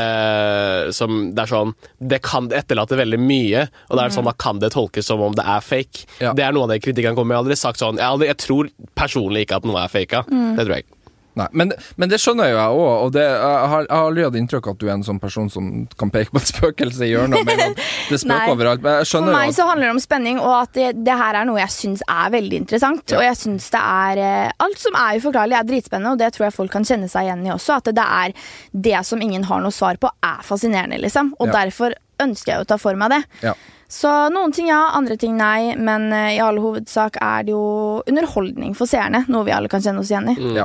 eh, som det er sånn Det kan etterlate veldig mye, og det er
Mhm.
sånn, da kan det tolkes som om det er fake.
Ja.
Det er noe av det kritikken kommer med. Jeg har aldri sagt sånn Jeg, har aldri, jeg tror personlig ikke at noe er faka.
Mm.
Det tror jeg ikke.
Nei, men, men det skjønner jo jeg òg, og det, jeg har jeg har aldri hatt inntrykk av at du er en sånn person som kan peke på et spøkelse i hjørnet. med en gang. Det
Nei.
spøker overalt. Men jeg
For
skjønner jo
meg
at
så handler det om spenning, og at det, det her er noe jeg syns er veldig interessant. Og jeg synes det er eh, Alt som er uforklarlig, er dritspennende, og det tror jeg folk kan kjenne seg igjen i også. At det, er det som ingen har noe svar på, er fascinerende, liksom. Og
Ja.
derfor ønsker jeg å ta for meg det.
ja.
Så noen ting ja, andre ting nei, men eh, i all hovedsak er det jo underholdning for seerne. Noe vi alle kan kjenne oss igjen i.
Ja.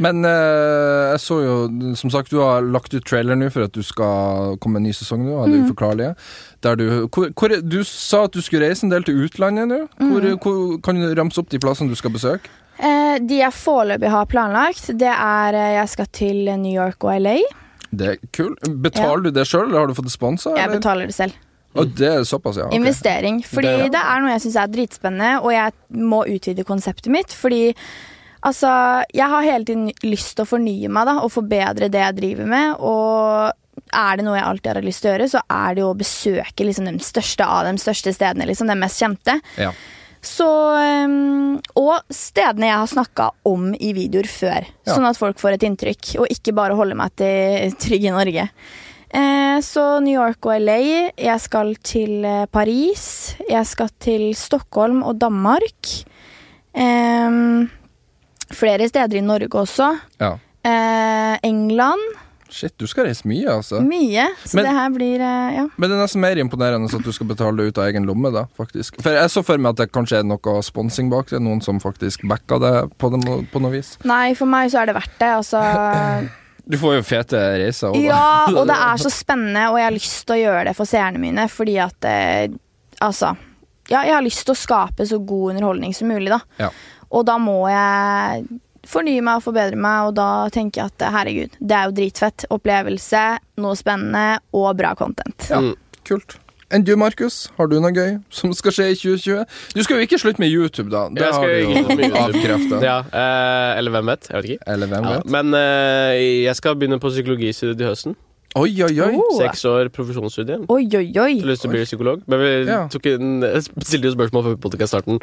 Men eh, jeg så jo, som sagt, du har lagt ut trailer nå for at du skal komme en ny sesong nå, av Det uforklarlige. Der du, hvor, hvor, du sa at du skulle reise en del til utlandet nå. Hvor, hvor, kan du ramse opp de plassene du skal besøke?
Eh, de jeg foreløpig har planlagt, det er eh, jeg skal til New York og LA.
Det er kult. Betaler du det sjøl, eller har du fått det sponsa?
Jeg
eller?
betaler det selv.
Å, det er såpass, ja. ok.
Investering. Fordi
Det-
det, er noe jeg syns er dritspennende, og jeg må utvide konseptet mitt. Fordi altså Jeg har hele tiden lyst til å fornye meg da, og forbedre det jeg driver med. Og er det noe jeg alltid har hatt lyst til å gjøre, så er det jo å besøke liksom, de største av de største stedene. Liksom, de mest kjente.
Ja.
Så, øhm, og stedene jeg har snakka om i videoer før,
Ja.
sånn at folk får et inntrykk, og ikke bare holder meg til trygg i Norge. Eh, så New York og LA. Jeg skal til eh, Paris. Jeg skal til Stockholm og Danmark. Ehm, flere steder i Norge også.
ja.
Eh, England.
Shit, du skal reise mye, altså.
Mye. Så
Men-
det her blir eh, Ja.
Men det er nesten mer imponerende at du skal betale det ut av egen lomme, da, faktisk. For jeg så for meg at det kanskje er noe sponsing bak det, noen som faktisk backa det på, dem, på noe vis.
Nei, for meg så er det verdt det. Altså
Du får jo fete reiser. også, da.
Ja, og det er så spennende, og jeg har lyst til å gjøre det for seerne mine, fordi at eh, Altså. Ja, jeg har lyst til å skape så god underholdning som mulig, da.
Ja.
Og da må jeg fornye meg og forbedre meg, og da tenker jeg at eh, herregud, det er jo dritfett. Opplevelse, noe spennende og bra content.
Ja, kult. Enn du, Markus? Har du noe gøy som skal skje i 2020? Du skal jo ikke slutte med YouTube, da. Det
Jeg
har
skal
du
ikke slutte
jo
med YouTube.
avkrefta.
Ja, eh, eller hvem vet? Jeg vet ikke.
Eller hvem
Ja,
vet?
men eh, jeg skal begynne på psykologistudiet i høsten.
Oi, oi, oi.
Oh.
Seks år profesjonsstudie.
Oi, oi, oi.
Jeg har lyst til å bli psykolog. Men vi
Ja.
tok en, stilte jo spørsmål før podcast-starten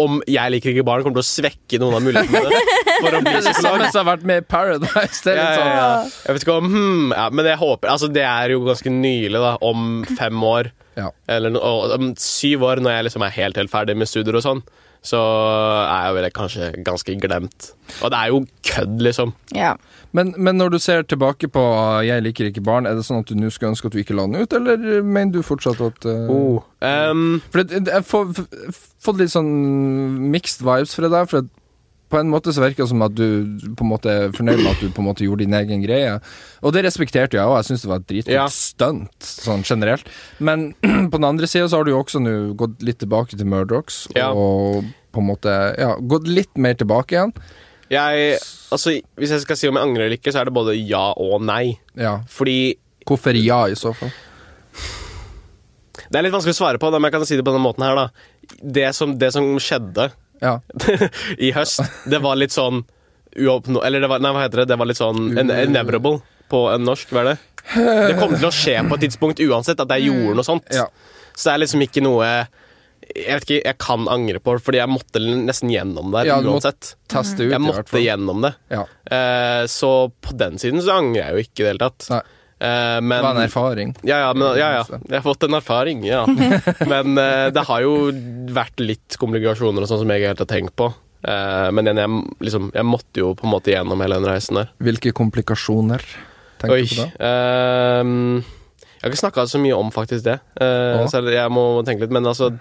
om jeg liker ikke barn kommer til å svekke noen av mulighetene for
Det er
å bli
det
psykolog.
samme som har vært med i Paradise. Det er
Ja,
litt
ja,
sånn.
ja. Jeg vet ikke om hmm, ja, Men jeg håper Altså, det er jo ganske nylig, da. Om fem år.
Ja.
Eller no, og, om syv år, når jeg liksom er helt, helt ferdig med studier og sånn. så er jeg vel kanskje ganske glemt. Og det er jo kødd, liksom.
Ja.
Men, men når du ser tilbake på ah, 'Jeg liker ikke barn', er det sånn at du nå skulle ønske at du ikke la den ut, eller mener du fortsatt at eh,
Um,
For det, det- jeg får f- fått litt sånn mixed vibes fra deg, for at på en måte så virker det som at du på en måte er fornøyd med at du på en måte gjorde din egen greie. Og det respekterte jeg òg, jeg syns det var et dritkult
Ja.
stunt sånn generelt. Men på den andre sida så har du jo også nå gått litt tilbake til Murdochs,
Ja.
og på en måte ja, gått litt mer tilbake igjen.
jeg, altså, hvis jeg skal si om jeg angrer eller ikke, så er det både ja og nei.
Ja.
Fordi
Hvorfor ja, i så fall?
Det er litt vanskelig å svare på, da, men jeg kan si det på denne måten her, da. Det som, det som skjedde
Ja.
i høst, det var litt sånn uoppnå... Eller det var, nei, hva heter det? Det var litt sånn en-
Mm.
inevitable på en norsk, hva er det? Det kom til å skje på et tidspunkt uansett at jeg gjorde noe sånt.
Mm. Ja.
Så det er liksom ikke noe jeg vet ikke, jeg kan angre på, fordi jeg måtte nesten gjennom det
Ja, du må-
uansett.
Teste ut,
Jeg
i hvert
måtte
fall.
gjennom det.
Ja.
Eh, så på den siden så angrer jeg jo ikke i det hele tatt.
Nei.
Eh, men,
Det var en erfaring.
ja, ja, men, ja, ja. Jeg har fått en erfaring, ja. Men eh, det har jo vært litt komplikasjoner og sånn som jeg ikke helt har tenkt på. Eh, men igjen, jeg, liksom, jeg måtte jo på en måte gjennom hele den reisen der.
Hvilke komplikasjoner tenker
Oi.
du på da?
ehm, jeg har ikke snakka så mye om faktisk det, eh,
Å.
så jeg må tenke litt. Men altså,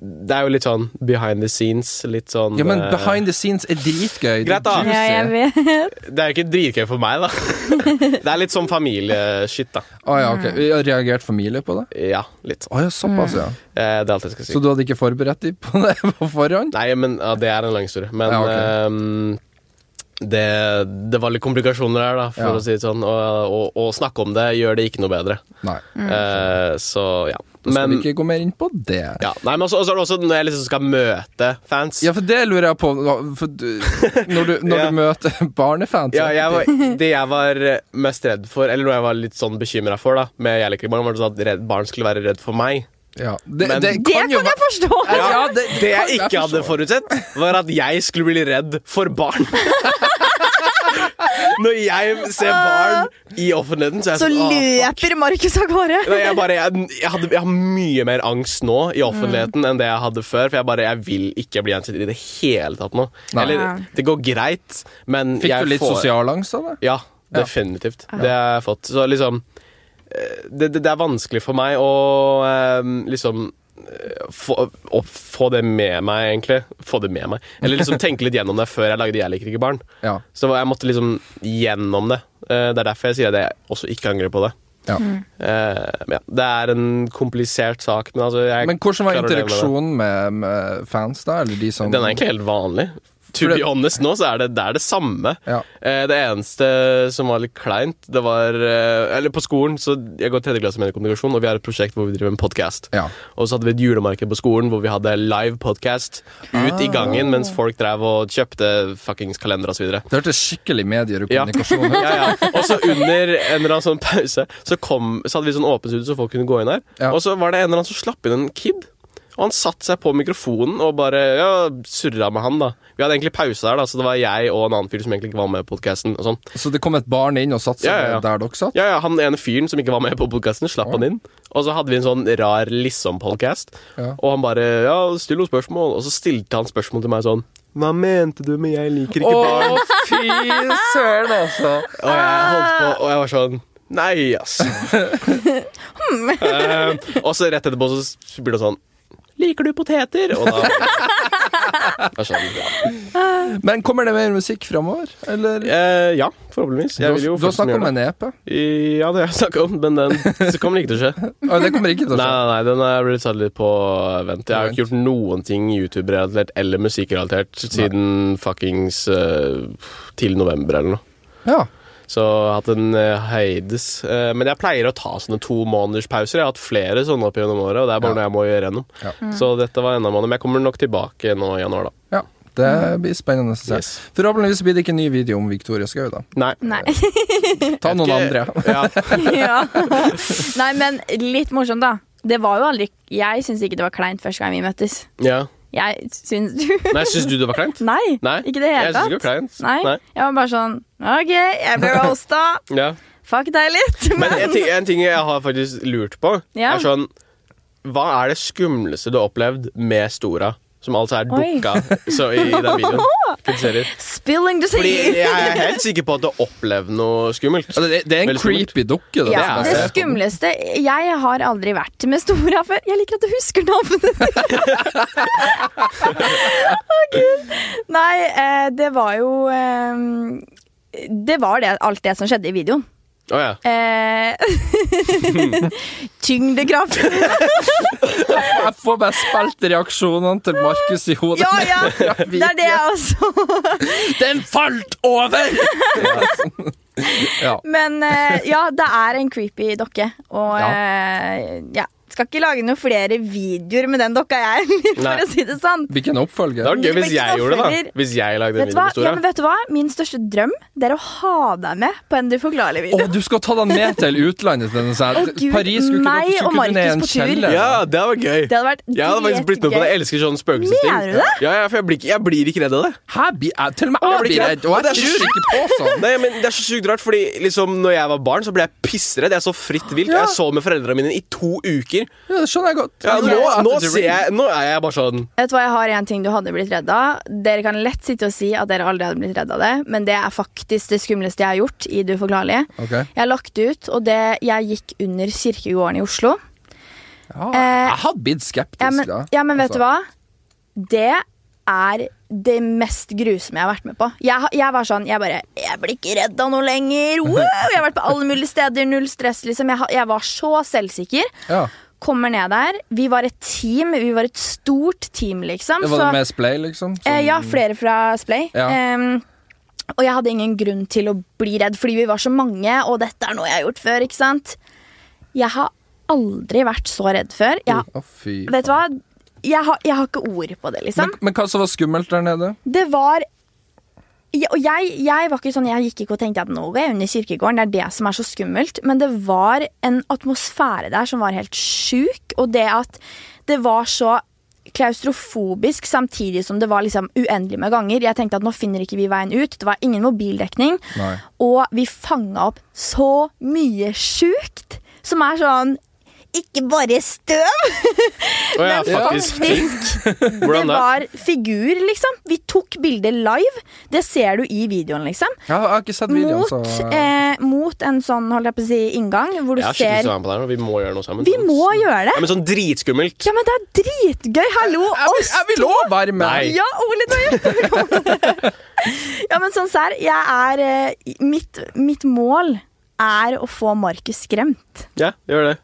det er jo litt sånn behind the scenes. Litt sånn
Ja, men
eh,
behind the scenes er dritgøy. Det er
Greit da.
juicy.
ja, jeg vet.
Det er jo ikke dritgøy for meg, da. det er litt sånn familieshit, da.
Å ja,
Mm.
ok. Har reagert familie på det?
Ja, litt sånn.
Å ja, såpass,
Mm.
ja.
Eh, det er alt jeg skal si.
Så du hadde ikke forberedt dem på det på forhånd?
Nei, men ja, det er en lang historie. Men
Ja, ok.
ehm, det, det var litt komplikasjoner her, da, for
Ja.
å si det sånn. Og, og, og snakke om det gjør det ikke noe bedre.
Nei.
Eh, så ja.
Da skal
Men,
vi ikke gå mer inn på det.
ja. Nei, men også, også er det også når jeg liksom skal møte fans.
Ja, for det lurer jeg på. hva- For du, når du, når
Ja.
du møter barnefans
Ja, jeg var, det jeg var mest redd for, eller noe jeg var litt sånn bekymra for, da, med jeg liker ikke barn, var det sånn at redd, barn skulle være redd for meg.
Ja. Det,
Men-
det
Det
kan
kan
jo
jeg
være
forstå!
Ja, ja, det,
Det jeg ikke hadde
forstår.
forutsett, var at jeg skulle bli redd for barn. Når jeg ser barn i offentligheten, så er jeg
Så
sånn «Åh, fuck».
løper Markus av gårde.
Nei, jeg, bare, jeg, jeg, hadde, jeg har mye mer angst nå i offentligheten enn det jeg hadde før. For jeg bare, jeg vil ikke bli gjenkjent i det hele tatt nå.
Nei.
Ja.
Eller, det går greit, men
Fikk
jeg
du litt
får,
sosialangst av det?
Ja, definitivt. Det har jeg fått. Så liksom eh, Det, det, det er vanskelig for meg å eh, liksom eh, få, å få det med meg, egentlig. Få det med meg. Eller liksom tenke litt gjennom det før jeg lagde Jeg liker ikke barn.
Ja.
Så jeg måtte liksom gjennom det. Eh, Det er derfor jeg sier at jeg også ikke angrer på det.
ja.
Mm.
Eh, men ja, det er en komplisert sak, men altså jeg
Men hvordan var
klarer å leve med det.
interaksjonen med, med fans, da? Eller de som
Den er egentlig helt vanlig. To
For det-
be honest nå, så er det, det er det samme.
Ja.
Eh, det eneste som var litt kleint, det var eh, Eller på skolen, så jeg går tredje klasse med kommunikasjon, og vi har et prosjekt hvor vi driver en podkast.
Ja.
Og så hadde vi et julemarked på skolen hvor vi hadde live podcast ut
Ah.
i gangen mens folk drev og kjøpte fuckings kalendere og så videre.
Det hørtes skikkelig medier og
Ja.
kommunikasjon ut.
Ja, ja. Og så under en eller annen sånn pause Så, kom, så hadde vi sånn åpent studio så folk kunne gå inn her.
Ja.
Og så var det en eller annen som slapp inn en kid. Og han satte seg på mikrofonen og bare ja, surra med han. da Vi hadde egentlig pause der, da så det var jeg og en annen fyr som egentlig ikke var med i podkasten. og sånn.
Så det kom et barn inn og satte seg
Ja, ja, ja.
ned der dere satt?
Ja, ja, Han ene fyren som ikke var med på podkasten, slapp
Ja.
han inn. Og så hadde vi en sånn rar liksom-podkast,
Ja.
og han bare ja, still noen spørsmål. Og så stilte han spørsmål til meg sånn Hva mente du med 'jeg liker ikke barn'?
fy søren, altså!
Og jeg holdt på, og jeg var sånn Nei, ass. Eh, og så rett etterpå så s- blir det sånn Liker du poteter? Og da Jeg skjønner, ja.
Men kommer det mer musikk framover, eller?
Eh, ja, forhåpentligvis.
Du
Jeg
har-
vil jo
du har snakket om
gjøre det.
en EP.
Ja, det har jeg snakket om, men den så kommer det ikke til å skje.
Å, det kommer ikke til å
Nei,
skje.
nei, nei den er blitt satt litt på vent. Jeg har jo ikke gjort noen ting YouTube-relatert eller musikkrelatert siden fuckings eh, til november eller noe.
Ja.
Så jeg har hatt en eh, heides. Eh, men jeg pleier å ta sånne to måneders pauser. Jeg har hatt flere sånne opp gjennom året, og det er bare
Ja.
noe jeg må gjøre gjennom.
Ja.
Mm.
Så dette var enda en måned, men jeg kommer nok tilbake nå i januar, da.
ja. Det blir spennende å se.
Yes.
Forhåpentligvis blir det ikke en ny video om Victoria Skau, da.
Nei.
Nei.
Ta noen andre.
Ikke- ja.
ja. Nei, men litt morsomt, da. Det var jo aldri Jeg syns ikke det var kleint første gang vi møttes.
ja.
Jeg syns du
Nei, syns du det var kleint?
Nei,
Nei.
ikke det i
Jeg
hele
syns ikke det
tatt.
var kleint.
Nei. Jeg var bare sånn OK, jeg ble roasta.
Ja.
Fuck deg litt.
Men en ting, en ting jeg har faktisk lurt på,
Ja.
er sånn Hva er det skumleste du har opplevd med Stora? Som altså
Oi.
er dukka så i, i den videoen. Kritiserer.
Spilling the
Fordi
sea!
jeg er helt sikker på at du opplevde noe skummelt.
Altså, det, det er en
Veldig skummelt.
creepy dukke. Det, er
Ja, det
det
altså-
jeg ser på.
skumleste Jeg har aldri vært med Stora før. Jeg liker at du husker navnet ditt! Å, Gud. Nei, eh, det var jo eh, Det var det, alt det som skjedde i videoen.
Å ja.
Eh, Tyngdekraft.
Jeg får bare spilt reaksjonene til Markus i hodet.
Ja, ja! Det er det jeg også.
Den falt over! ja.
Men eh, ja, det er en creepy dokke. Og
Ja.
eh, ja. Skal ikke lage noen flere videoer med den dokka, jeg, for
Nei.
å si det sånn.
Hvilken
Det
oppfølger?
var gøy hvis
Men
jeg gjorde det,
knapper-
da. Hvis jeg lagde en
Vet du,
video
hva? Ja, men
med Stora.
vet du hva? Min største drøm det er å ha deg med på en du forklarer
Å,
video.
du skal ta den med til utlandet. Denne, sånn.
Å, Gud,
Paris skulle
meg
ikke,
og
skulle ikke ned i en
Markus på tur.
kjeller.
Ja, det var gøy.
Det hadde vært
Jeg hadde faktisk blitt med på det. Jeg elsker sånne spøkelsesting.
Mener du det?
Ja, ja, for jeg blir, ikke, jeg blir ikke redd av det.
Her blir jeg til og med jeg
blir
blir
ikke
redd, og
det.
jeg tror ikke på sånn.
Nei, men Det er så sykt rart, fordi liksom når jeg var barn, så ble jeg pissredd. Jeg så fritt vilt.
Ja.
Jeg så med foreldrene mine i to uker.
Ja, det skjønner jeg godt.
Ja,
Jeg
nå,
tror at
nå,
det-
ser jeg, nå er jeg bare sånn
Vet du hva, Jeg har en ting du hadde blitt redd av. Dere kan lett sitte og si at dere aldri hadde blitt redd av det, men det er faktisk det skumleste jeg har gjort i Du forklarlige.
Ok.
Jeg har lagt ut, og det, jeg gikk under kirkegården i Oslo.
Ja,
Eh,
jeg hadde blitt skeptisk,
Ja, men,
da.
ja, men vet
Altså,
du hva? Det er det mest grusomme jeg har vært med på. Jeg, har- jeg var sånn, jeg bare Jeg blir ikke redd av noe lenger! Wow! Jeg har vært på alle mulige steder, null stress, liksom. Jeg, har- jeg var så selvsikker.
Altså.
Ja.
Kommer ned der. Vi var et team. Vi var et stort team, liksom.
Det var
så-
det med splay, liksom? som-
Eh, ja, flere fra Splay.
Ja.
Ehm, og jeg hadde ingen grunn til å bli redd, fordi vi var så mange, og dette er noe jeg har gjort før, ikke sant? Jeg har aldri vært så redd før. Jeg har
Å, fy.
Vet du hva? Jeg har, jeg har ikke ord på det, liksom.
Men, men hva som var skummelt der nede?
det var Ja, og jeg, jeg var ikke sånn, jeg gikk ikke og tenkte at nå går jeg under kirkegården. Det er det som er så skummelt. Men det var en atmosfære der som var helt sjuk. Og det at det var så klaustrofobisk samtidig som det var liksom uendelig med ganger. Jeg tenkte at nå finner ikke vi veien ut. Det var ingen mobildekning.
Nei.
Og vi fanga opp så mye sjukt som er sånn Ikke bare støv,
Å ja,
men
faktisk.
faktisk det
Hvordan da?
var figur, liksom. Vi tok bilder live. Det ser du i videoen, liksom.
Ja, jeg har ikke sett videoen,
Mot,
så
eh, mot en sånn holdt jeg på å si, inngang, hvor du
Jeg er skikkelig sånn.
ser
sammen på det her, og vi må gjøre noe sammen.
Vi må gjøre
Ja,
det!
men sånn dritskummelt.
Ja, men det er dritgøy! Hallo,
Jeg vil-
oss
Jeg vil òg være med!
Nei.
Ja, Ole, du har hjulpet meg. Ja, men sånn serr, jeg er eh, mitt, mitt mål er å få Markus skremt.
Ja, gjør det.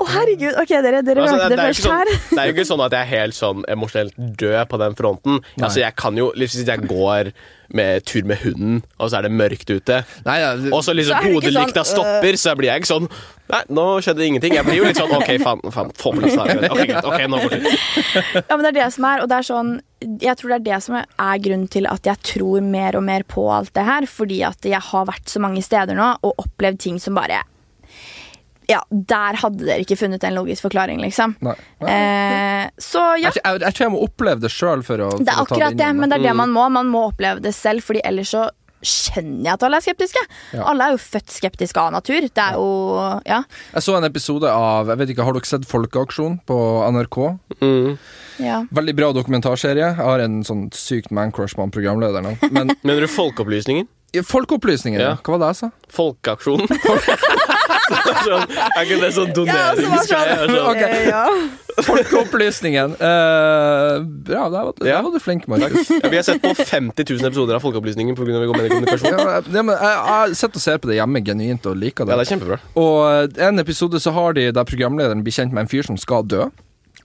Å, herregud. Ok, dere, dere
Altså,
hørte
det,
det,
det, er jo ikke
først
sånn,
her.
det er jo ikke sånn at jeg er helt sånn emosjonelt død på den fronten. Altså, jeg kan jo, Hvis jeg går med tur med hunden, og så er det mørkt ute,
Nei, ja, det-
og så liksom
Så er det ikke
hodelykta
sånn,
stopper, så blir jeg ikke sånn Nei, nå skjedde ingenting. Jeg blir jo litt sånn OK, faen, faen få på plass her. Ok, greit. Ok, nå går det.
Ja, men det er det som er, og det er sånn Jeg tror det er det som er grunnen til at jeg tror mer og mer på alt det her. Fordi at jeg har vært så mange steder nå og opplevd ting som bare Ja, der hadde dere ikke funnet en logisk forklaring, liksom.
Nei. Nei.
Eh, så ja.
Jeg, jeg, jeg tror jeg må oppleve det sjøl for å for
Det
å ta
er akkurat
det
det,
inn. i meg. Mm.
men det er det man må. Man må oppleve det selv, fordi ellers så skjønner jeg at alle er skeptiske.
Ja.
Alle er jo født skeptiske av natur. Det er jo Ja.
Jeg så en episode av jeg vet ikke, Har dere sett Folkeaksjon på NRK?
Mm.
ja.
Veldig bra dokumentarserie. Jeg har en sånn sykt man-crush på han programlederen. nå. Men
Mener du Folkeopplysningen?
Folkeopplysningen, ja.
Ja.
hva var det jeg sa?
Folkeaksjonen? sånn, er ikke det sånn
altså,
doneringsgreie?
Ja,
Sånn.
Ok.
Eh, ja.
Folkeopplysningen! Eh, bra, der var, der
Ja.
var du flink, Markus.
Ja, sånn, vi har sett på 50 000 episoder av Folkeopplysningen pga. vi går med i kommunikasjon.
Ja, ja, men jeg, jeg sitter og ser på det hjemme genuint og liker
Ja, det
det.
er kjempebra.
Og en episode så har de der programlederen blir kjent med en fyr som skal dø.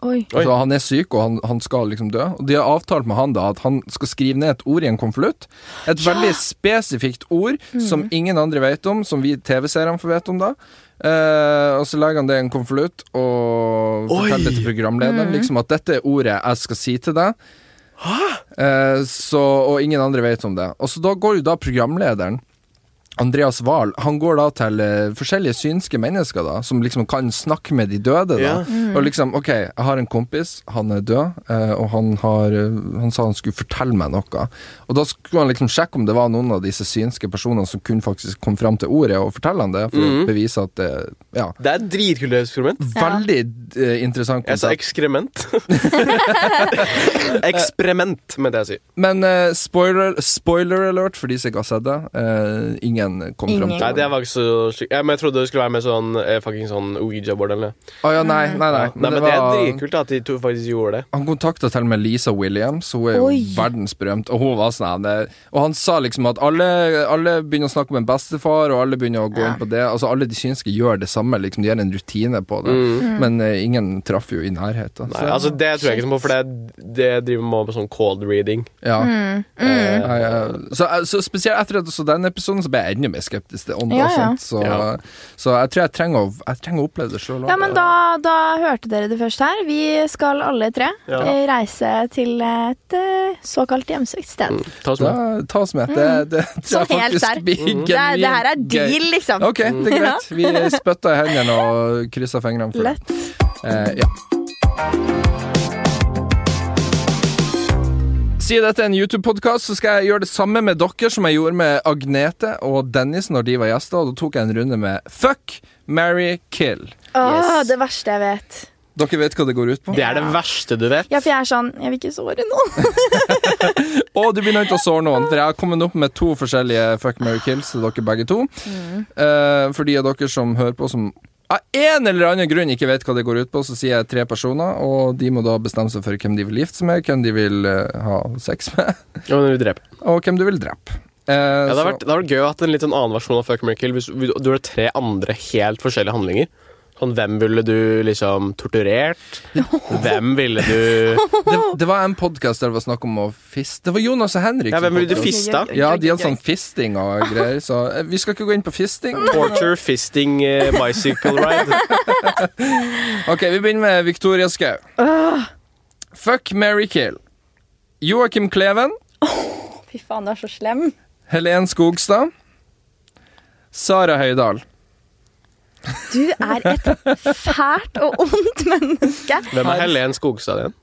Oi.
Oi.
Altså, han er syk, og han, han skal liksom dø. Og de har avtalt med han da at han skal skrive ned et ord i en konvolutt. Et veldig spesifikt ord som
Mm.
ingen andre vet om, som vi TV-seerne får vite om da. Eh, og så legger han det i en konvolutt og
Oi! Mm.
forteller det til programlederen liksom at dette er ordet jeg skal si til deg. Eh, så, og ingen andre vet om det. Og så da går jo da programlederen Andreas Wahl, han går da til eh, forskjellige synske mennesker da, som liksom kan snakke med de døde da.
Ja.
Og liksom, ok, jeg har en kompis, han er død, eh, og han, har, eh, han sa han skulle fortelle meg noe. Og da skulle han liksom sjekke om det var noen av disse synske personene som kunne faktisk komme fram til ordet og fortelle han det, for
Mm.
å bevise at det, ja.
Det er et dritkult eksperiment.
Veldig eh, interessant
Jeg sa
konsept.
ekskrement. Eksperiment, mente jeg å si.
Men eh, spoiler, spoiler alert for de som ikke har sett det. eh, ingen kom
Ingen.
fram til
Nei, det var ikke så slik. Ja, men jeg trodde det skulle være med sånn eh, fucking sånn Ouija-board eller noe.
Å ja, nei, nei, nei.
Nei, men det, er dritkult da, at de to faktisk gjorde det.
Han kontakta til og med Lisa Williams, hun er jo
Oi.
verdensberømt, og hun var sånn eh, Og han sa liksom at alle, alle begynner å snakke om en bestefar, og alle begynner å gå inn på det. Altså alle de synske gjør det samme, liksom, de har en rutine på det.
Mm.
Men eh, ingen traff jo i nærheten.
Mm. Nei, altså Det tror jeg ikke noe på, for det, det driver man med sånn cold reading.
Ja.
Mm.
Eh,
Nei, eh, Så, så spesielt etter at jeg så den episoden, så ble jeg enda mer skeptisk til ånder. og
Ja, ja.
sånt, Så,
Ja.
så jeg tror jeg trenger å, jeg trenger å oppleve det sjøl.
Ja, men da, da hørte dere det først her. Vi skal alle tre
Ja.
eh, reise til et eh, såkalt hjemsøkt sted.
ta oss
da,
med.
eh, ta oss med. Det, det tror jeg
Sånn Mm. helt
faktisk
der.
blir
Mm.
Det, er-
genuint
det her er
gøy.
deal, liksom.
Ok, det er greit. Vi spytta i hendene og kryssa fingrene for det.
Lett.
Eh, ja. Siden dette er en YouTube-podkast, så skal jeg gjøre det samme med dere som jeg gjorde med Agnete og Dennis når de var gjester, og da tok jeg en runde med Fuck, marry, kill.
Åh,
Yes.
det verste jeg vet.
Dere vet hva det går ut på?
Det er det verste du vet.
Ja, for jeg er sånn Jeg vil ikke såre noen.
Og du begynner ikke å såre noen, for jeg har kommet opp med to forskjellige Fuck, marry, kills til dere begge to.
Mm.
Eh, for de av dere som hører på som av en eller annen grunn ikke vet hva det går ut på, så sier jeg tre personer, og de må da bestemme seg for hvem de vil gifte seg med, hvem de vil eh, ha sex med,
Ja, men vi dreper.
og hvem du vil drepe. Eh,
Ja,
så-
det hadde vært, det hadde vært gøy å ha hatt en litt sånn annen versjon av Fuck Miracle hvis vi- du gjorde tre andre helt forskjellige handlinger. Sånn, hvem ville du liksom torturert? Hvem ville du
det, det var en podkast der det var snakk om å fiste Det var Jonas og Henrik.
Ja,
som
hvem ville du
podcast.
fiste
Mm.
av?
Ja, de hadde sånn fisting og greier, så eh, vi skal ikke gå inn på fisting.
Torture, fisting, eh, bicycle ride.
Ok, vi begynner med Victoria Skau. Fuck Mary Kill. Joakim Kleven.
Fy faen, du er så slem.
Helen Skogstad. Sara Høydahl.
Du er et fælt og ondt menneske.
Hvem er Helen Skogstad igjen?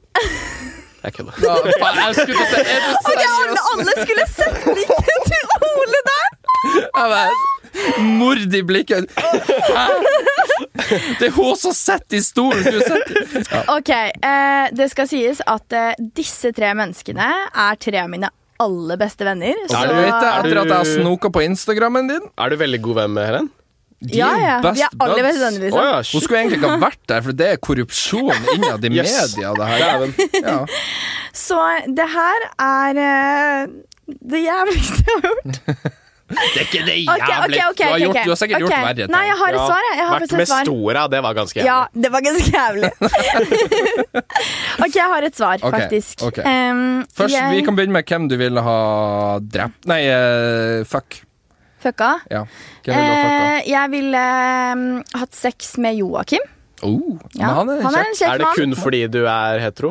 Jeg kødder.
Ja, faen, jeg skulle til å si, er du
Og det
seriøs?
alle, alle skulle sette liket til Ole der!
Jeg bare- Mord i blikket. Hæ? Det er hun som sitter i stolen! Du sitter
Ok, eh, det skal sies at eh, disse tre menneskene er tre av mine aller beste venner.
Og
Er
så
du-
vet jeg,
er
etter at jeg har
du-
snoka på Instagrammen din
Er du veldig god venn med Helen?
De
ja,
er jo
ja,
best
vi er aller
buds.
best venner,
Å
liksom.
ja,
Hun
shit.
skulle egentlig ikke ha vært der, for det er korrupsjon innad i
Yes.
media. Det her. Ja.
Så det her er eh, det jævligste jeg har gjort.
Det er ikke det
Ok, ok, ok,
Du har
ok,
gjort-
ok.
du har sikkert gjort
Ok.
verre ting.
Nei, jeg har et
Ja,
svar. jeg. Jeg har
Vært
faktisk
med
et svar.
Stora, det var ganske
Ja,
jævlig.
det var ganske jævlig. ok, jeg har et svar,
Ok,
faktisk.
ok.
Em,
Først,
jeg
Vi kan begynne med hvem du ville ha drept Nei, eh, fuck.
Fucka.
Ja. Hvem ville ha fucka?
Eh, jeg ville em, hatt sex med Joakim.
Oh,
Eh, Ja,
men han er kjekk.
en kjekk
Er det
mann.
kun fordi du er hetero?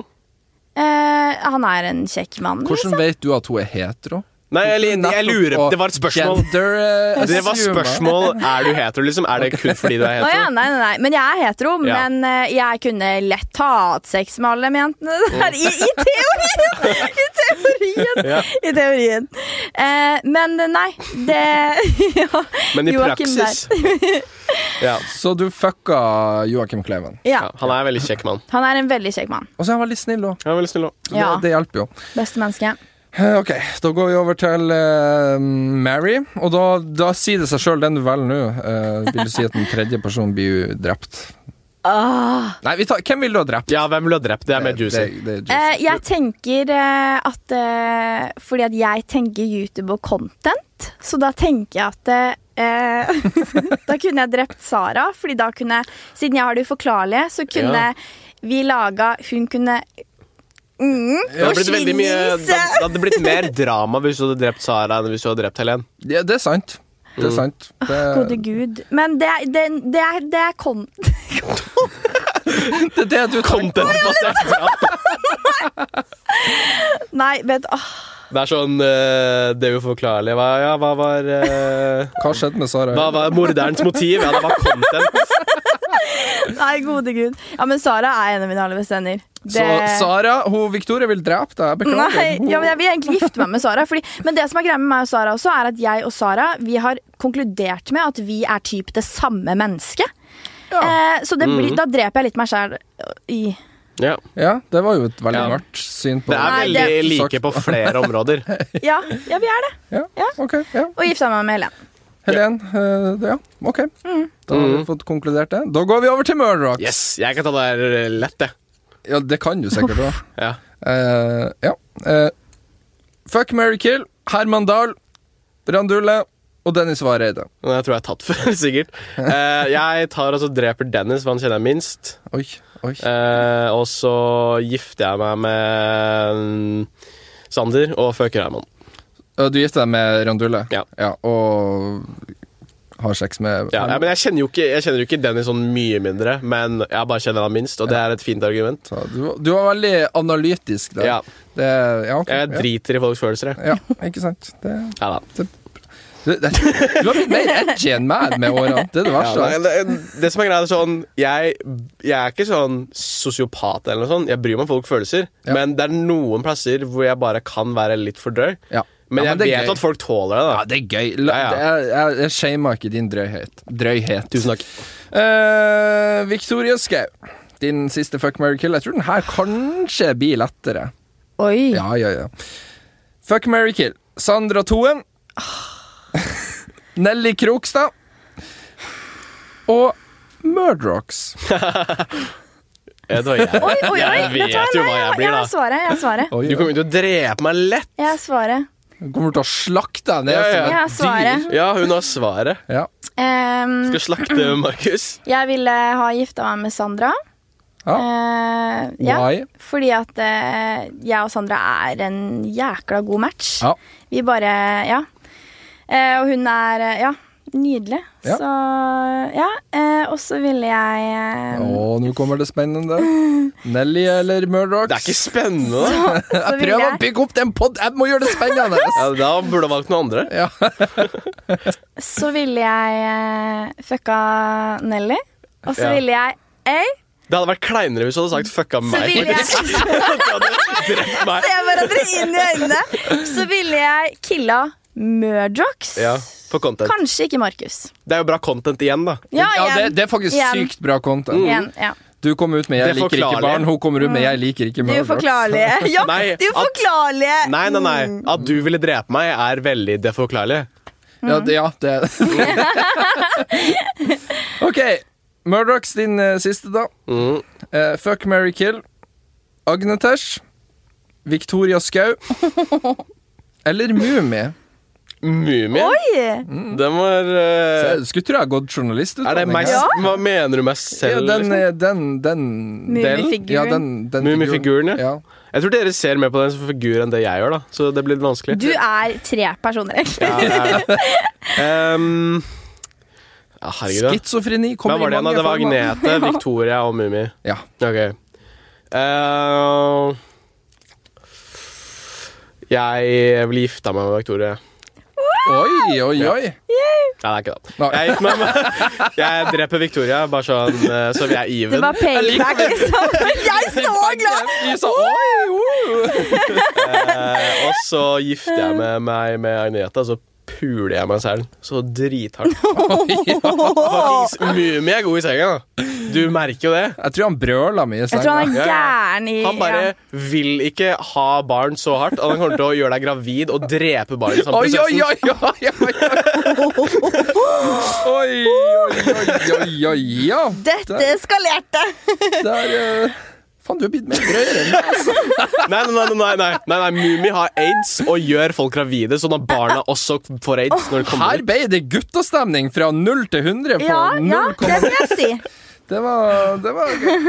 Eh, han er en kjekk mann.
Hvordan vet du at hun er hetero?
Nei, jeg, jeg lurer Det var et spørsmål.
Gender, eh,
Det var
assumer.
spørsmål. Er du hetero, liksom? Er det kun fordi du
Å
er
ja,
hetero?
nei, nei, nei. Men jeg er hetero,
Ja.
men eh, jeg kunne lett ha hatt sex med alle de jentene der. I, i teorien! I teorien!
Ja.
I teorien. Eh, men eh, nei, det ja,
Men i
Joakim der.
praksis ja.
Så du fucka Joakim Kleven.
Ja,
ja. Han er en veldig kjekk mann.
han er en veldig kjekk mann.
Og så er han veldig snill òg.
Ja, veldig snill også.
Det,
Ja.
det hjelper jo.
Beste menneske.
Eh, Ok, da går vi over til eh, Mary. Og da, da sier det seg sjøl, den du velger nå, eh, vil du si at den tredje personen blir jo drept.
Åh.
Nei, vi tar, hvem vil du ha drept?
Ja, hvem ville ha drept? Det er mer juicy.
Det, det, det er
Eh, jeg tenker eh, at eh, Fordi at jeg tenker YouTube og content, så da tenker jeg at eh, Da kunne jeg drept Sara, Fordi da kunne Siden jeg har det uforklarlige, så kunne
Ja.
vi laga Hun kunne mm,
Det hadde, blitt veldig mye,
forsvinne.
det hadde blitt mer drama hvis du hadde drept Sara enn hvis du hadde drept Helen.
juicy. ja, det er sant. Det
Mm.
er sant. Det,
Gode gud. Men det, er- det, det, er, det er kon...
det, er det du tenkte.
Content-basert. Ja.
Nei, vet åh,
Det er sånn eh, Det er uforklarlige. Hva, ja, hva var eh,
Hva skjedde med Sara?
Hva var morderens motiv? Ja, det var content.
Nei, gode gud. Ja, men Sara er en av mine aller beste venner.
Så Sara, hun Victoria vil drepe deg. Beklager.
Nei, ja, men jeg vil egentlig gifte meg med Sara. Fordi, men det som er greia med meg og Sara også, er at jeg og Sara vi har konkludert med at vi er typ det samme mennesket. Eh, så det
Mm.
blir, da dreper jeg litt meg sjæl i
Ja.
Ja, det var jo et veldig
Ja.
mørkt syn på
Det er
Nei,
veldig
det-
Sagt.
like på flere områder.
Ja, ja vi er det.
Ja, ok. Ja.
Og gifta meg med Helen.
Helen. eh, det- Ja, ok. Da har vi fått konkludert det. Da går vi over til Murdoch.
Mm. Yes, Jeg kan ta det her eh, lett, jeg.
Ja, det kan du sikkert òg.
Ja.
ja. Eh, fuck Mary Kill, Herman Dahl, Randulle og Dennis Vareide.
Men jeg tror jeg har tatt før, sikkert. Eh, jeg tar og så dreper Dennis, for han kjenner jeg minst.
Oi, oi.
Eh, og så gifter jeg meg med mm, Sander og fucker Herman.
Eh, Du gifter deg med Randulle?
Ja.
og har sex med
Ja, ja,
Herman.
men jeg kjenner jo ikke, jeg kjenner jo ikke Dennis sånn mye mindre, men jeg bare kjenner han minst, og det er et fint argument.
Så du, var- du var veldig analytisk der.
Ja.
Det, ja, ok.
Jeg driter i folks følelser, jeg.
ja. ja, ikke sant. Det,
Ja da.
det, det, du har blitt mer edgy enn meg med årene. Det er det verste.
Ja,
altså.
det, det som er greia, er sånn jeg, jeg er ikke sånn sosiopat eller noe sånt. Jeg bryr meg om folks følelser,
Ja.
men det er noen plasser hvor jeg bare kan være litt for drøy.
Ja.
Men
Ja,
jeg
det er
vet
gøy.
at folk tåler det, da.
Ja, det er gøy. La,
Ja, ja.
det er- Jeg, jeg shamer ikke din drøyhet. drøyhet.
Tusen takk.
Eh, Victoria Skau, din siste fuck, marry, kill. Jeg tror den her kanskje blir lettere.
Oi.
Ja, ja, ja. Fuck, marry, kill. Sandra Toen. Nelly Krokstad. Og Murdrocks.
Jeg, tror jeg,
Oi, oi, oi.
jeg
vet du hva,
vet jo hva
jeg,
jeg blir,
jeg
da.
svarer. Jeg svarer.
Oi,
Du kommer til å drepe meg lett.
Jeg svarer.
Hun kommer til å slakte deg ned
Ja, ja.
Jeg
som et dyr.
svarer.
Ja, hun har svaret.
Ja.
Ehm,
Skal slakte Markus.
jeg ville ha gifta meg med Sandra.
Ja.
Eh, ja.
Why?
Fordi at eh, jeg og Sandra er en jækla god match.
Ja.
Vi bare Ja. Eh, og hun er eh, ja, nydelig.
Ja.
Så ja. eh, og så ville jeg eh,
Å, nå kommer det spennende. Nelly eller Murdrocks?
Det er ikke spennende, da.
så
Jeg
ville
prøver å
jeg,
bygge opp den pod... Jeg må gjøre det spennende!
Ja, da burde du ha valgt noen andre.
Ja.
så ville jeg eh, fucka Nelly. Og så
Ja.
ville jeg Ei,
Det hadde vært kleinere hvis du hadde sagt 'fucka
så
meg'.
ville jeg
faktisk.
se
Du hadde drept meg.
hverandre inn i øynene. Så ville jeg killa Murdrocks.
Ja, for content.
Kanskje ikke Markus.
Det er jo bra content igjen, da.
Ja,
det,
igjen.
det er faktisk
Igjen.
sykt bra content.
Igjen, ja. Mm.
Du kom ut med 'jeg
Det er
liker ikke
forklarlig.
barn', hun kommer ut med 'jeg liker ikke
Det
Murdrocks'.
uforklarlige. Ja,
Nei,
det
at-
uforklarlige.
Nei, nei,
Mm.
nei. At du ville drepe meg, er veldig deforklarlig.
Ja,
Mm.
det, ja, det. OK. Murdrocks din eh, siste, da.
Mm.
Eh, fuck Mary Kill. Agnetesh. Victoria Skau. Eller
Eh,
Mummi.
Mumien?
Oi!
Mm.
Mm. Den var eh,
Jeg Skulle tro jeg har gått
Er det
journalistutdanning.
meg
jeg.
Ja.
Hva mener du
Ja,
meg selv?
den,
liksom?
eh, den, den
Mumifiguren.
delen. Ja, den, den
Mumifiguren, ja.
ja.
Jeg tror dere ser mer på den som figur enn det jeg gjør, da. Så det blir litt vanskelig.
Du er tre personer, egentlig.
Ja, det er det. Um, ja, herregud, da.
Schizofreni
Hva
kommer
var det
i
igjen? da?
mange
Det var
former.
Agnete, Victoria og Mummi.
Ja.
Ok. Eh, jeg ville gifta meg med Victoria.
Oi, oi, oi.
Nei, det er ikke det.
Nei.
Jeg, gifter meg med, jeg dreper Victoria, bare sånn eh, så vi er
Det
even.
var payback, liksom. Jeg er så glad!
Jeg sa, oi, oi.
Eh, og så gifter jeg meg med, med Agnete, og så puler jeg meg selv. Så drithardt. Fuckings Mumie er god i senga, da. Du merker jo det.
Jeg tror han brøla mye i
Jeg tror han
senga.
er gæren i
Han bare
ja.
vil ikke ha barn så hardt at han kommer til å gjøre deg gravid og drepe barnet i samme
Oi, oi,
prosessen.
oi, oi, oi, oi. Oi, oi, oi, oi, ja.
Dette eskalerte!
Der, eh, faen, du er blitt mer drøyere enn meg. altså.
Nei, nei, nei, nei, nei, nei, nei Mummi har aids og gjør folk gravide, sånn at barna også får aids. Når det kommer
Her
ut.
ble det guttastemning fra 0 til 100 på
Ja, ja,
0,
det vil jeg si.
det var, det var gøy.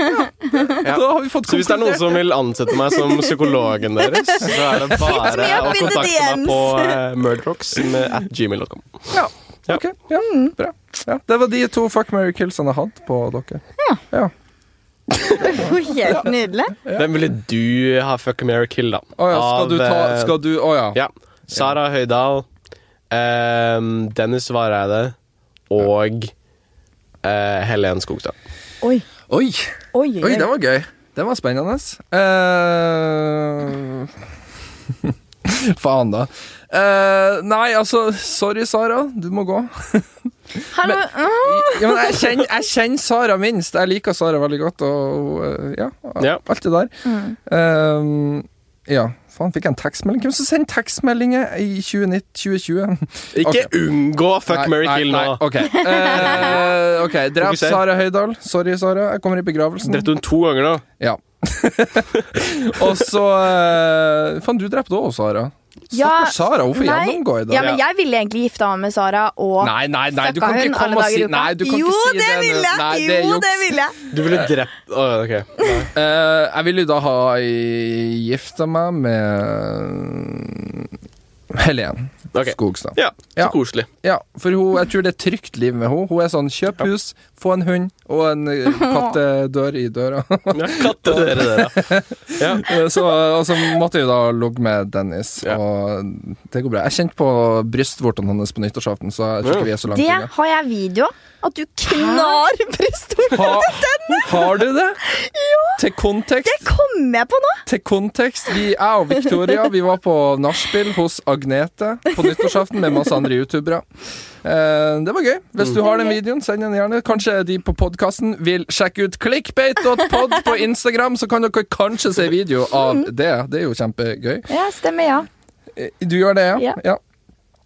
Ja.
Da har vi fått
Så hvis det er noen som vil ansette meg som psykologen deres, så er det bare
me up
å
in the
kontakte meg
DMs.
på eh, murdrocks med at gmail.com.
Ja, ok. Ja, bra. Ja. Det var de to fuck, marry, kills han har hatt på dere. Ja.
er jo helt nydelig.
Hvem ville Eh, du ha fuck, marry, kill, da?
Å ja, skal
Av,
du ta
eh,
Skal du Å ja.
Ja. Sara Høydahl, ehm, Dennis Vareide og eh, Helen Skogstad.
Oi,
Oi!
oi,
Oi,
oi.
den var gøy. Den var spennende. Eh, Faen, da. Eh, nei, altså Sorry, Sara. Du må gå.
Hallo. mm.
Ja, men jeg, kjenner, jeg kjenner Sara minst. Jeg liker Sara veldig godt, og øh, ja,
Ja.
alt det der. Ehm, ja. Faen, fikk jeg en tekstmelding? Hvem som sender tekstmeldinger i 2019, 2020?
Ikke unngå fuck,
Nei,
marry,
nei,
kill
nei,
nå!
Ok, Eh, ok, Drep
Fokuser.
Sara Høydahl. Sorry, Sara. Jeg kommer i begravelsen.
Drepte hun to ganger nå?
Ja. og så eh, Faen, du drepte òg, Sara.
Ja,
Stakkars Sara. Hun får
nei,
gjennomgå i dag.
Ja, men jeg ville egentlig gifta meg med Sara og
Nei, nei, nei, du
fucka
kan
hun
ikke komme
alle
og si
dager i uka.
Nei, du kan
jo,
ikke si
det
nå.
ville jeg!
Nei, det er
jo,
juks.
det ville jeg!
Du ville drept Åh, ok.
Eh, jeg ville jo da ha gifta meg med Helen
Ok.
Skogstad.
Ja, så
Ja.
koselig.
Ja, for hun, jeg tror det er et trygt liv med henne. Hun er sånn kjøp hus, få en hund og en eh, kattedør i døra.
Ja, katte dere, dere. Ja.
Eh, Så, og så måtte jeg jo da ligge med Dennis,
Ja.
og det går bra. Jeg kjente på brystvortene hans på nyttårsaften, så jeg tror ikke vi er så langt
Det
unna.
har jeg video av. At du knar brystvorten.
Ha, har du det? Til kontekst?
Det kommer jeg på nå!
Til kontekst, vi, jeg og Victoria Vi var på nachspiel hos Agnete på nyttårsaften med masse andre youtubere. Eh, det var gøy. Hvis du har den videoen, send den gjerne. Kanskje de på podkasten vil sjekke ut clickbait.pod på Instagram, så kan dere kanskje se video av det. Det er jo kjempegøy.
Ja, stemmer, ja.
Eh, Du gjør det, ja?
Ja.
ja.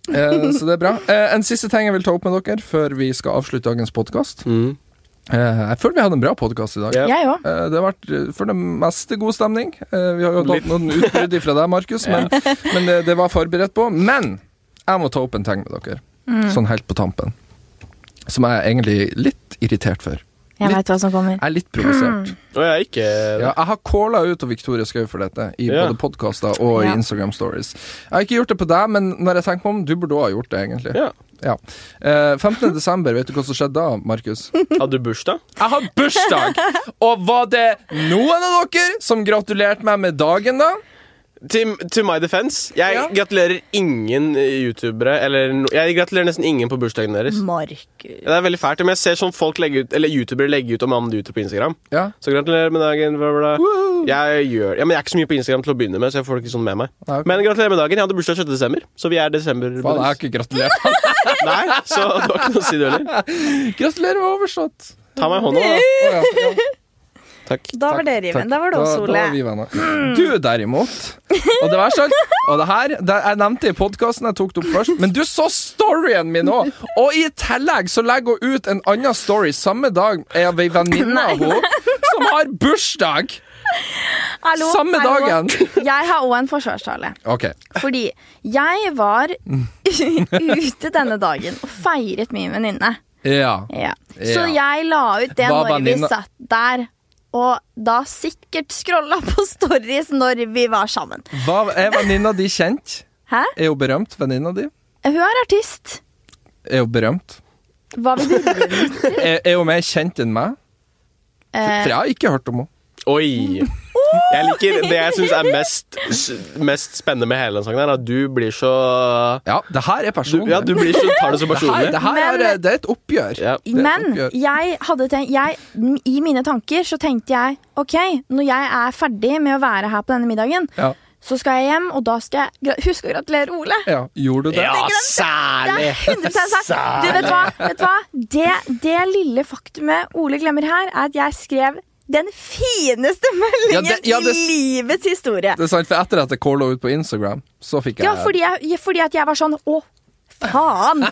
Eh, så det er bra. Eh, en siste ting jeg vil ta opp med dere før vi skal avslutte dagens podkast.
Mm.
jeg føler vi hadde en bra podkast i dag.
Ja.
Jeg òg.
Eh, Det har vært eh, for det meste god stemning. Eh, Vi har jo
Litt.
tatt noen utbrudd fra deg, Markus, men, men eh, det, det var forberedt på. Men jeg må ta opp en ting med dere,
Mm.
sånn helt på tampen, som jeg er egentlig litt irritert for.
Jeg veit hva som kommer.
Jeg er litt provosert.
Og jeg er ikke
Ja, jeg har calla ut av Victoria Skau for dette, i
Ja.
både podkaster og i
Ja.
Instagram Stories. Jeg har ikke gjort det på deg, men når jeg tenker meg om, du burde òg ha gjort det, egentlig.
ja.
Ja. Eh, 15. desember, vet du hva som skjedde da, Markus?
Hadde du bursdag?
Jeg har bursdag! Og var det noen av dere som gratulerte meg med dagen, da?
Til, til my defense, jeg
Ja.
gratulerer ingen youtubere eller no, Jeg gratulerer nesten ingen på bursdagen
Mm.
deres.
Markus.
Det er veldig fælt, men jeg ser sånn folk legge ut, eller youtubere legge ut om andre youtubere på Instagram.
Ja.
Så gratulerer med dagen. Bla, bla, bla. Jeg gjør, ja, men jeg er ikke så mye på Instagram til å begynne med, så jeg får det ikke sånn med meg.
Nei, ok.
Men gratulerer med dagen. Jeg hadde bursdag 6. desember, så vi er desember.
Faen, jeg har ikke gratulert.
Nei, så det var ikke noe å si, du heller.
Gratulerer med overstått.
Ta meg i hånda, da.
Å, ja. Ja,
Takk.
Da var det
takk.
riven. Da var det
Da-
oss,
Da
Ole.
var vi venner. Du, derimot Og det verste av alt Og det her det Jeg nevnte i podkasten, jeg tok det opp først, men du så storyen min òg! Og i tillegg så legger hun ut en annen story samme dag er vi venninne av henne som har bursdag!
Hallo,
Samme
hallo.
dagen.
Jeg har òg en forsvarstale.
OK.
Fordi jeg var ute denne dagen og feiret min venninne.
Ja.
Ja. Så
Ja.
jeg la ut det
Hva
når vi
venninna-
satt der, og da sikkert scrolla på stories når vi var sammen.
Hva, er venninna di kjent?
Hæ?
Er hun berømt, venninna di?
Hun er artist.
Er hun berømt?
Hva vil du
Er, er hun mer kjent enn meg? For
eh,
jeg har ikke hørt om henne.
Oi. Jeg liker Det jeg syns er mest, s- mest spennende med hele den sangen, her, at du blir så
Ja, det her er
du,
personlig.
Ja, du blir så, tar det så
det her,
personlig.
det, her
Men-
er, det er et oppgjør.
Ja.
er et
Men
oppgjør.
jeg hadde tenkt jeg, I mine tanker så tenkte jeg OK, når jeg er ferdig med å være her på denne middagen,
Ja.
så skal jeg hjem, og da skal jeg gra- huske å gratulere Ole.
Ja, gjorde du det?
Ja,
Det
særlig!
er 100 sant. Du, vet du hva? Vet du hva? Det, det lille faktumet Ole glemmer her, er at jeg skrev den fineste meldingen
Ja, det- ja, det-
i livets historie.
Det er sant, for etter at jeg calla ut på Instagram, så fikk jeg
Ja, fordi, jeg, fordi at jeg var sånn Å, faen!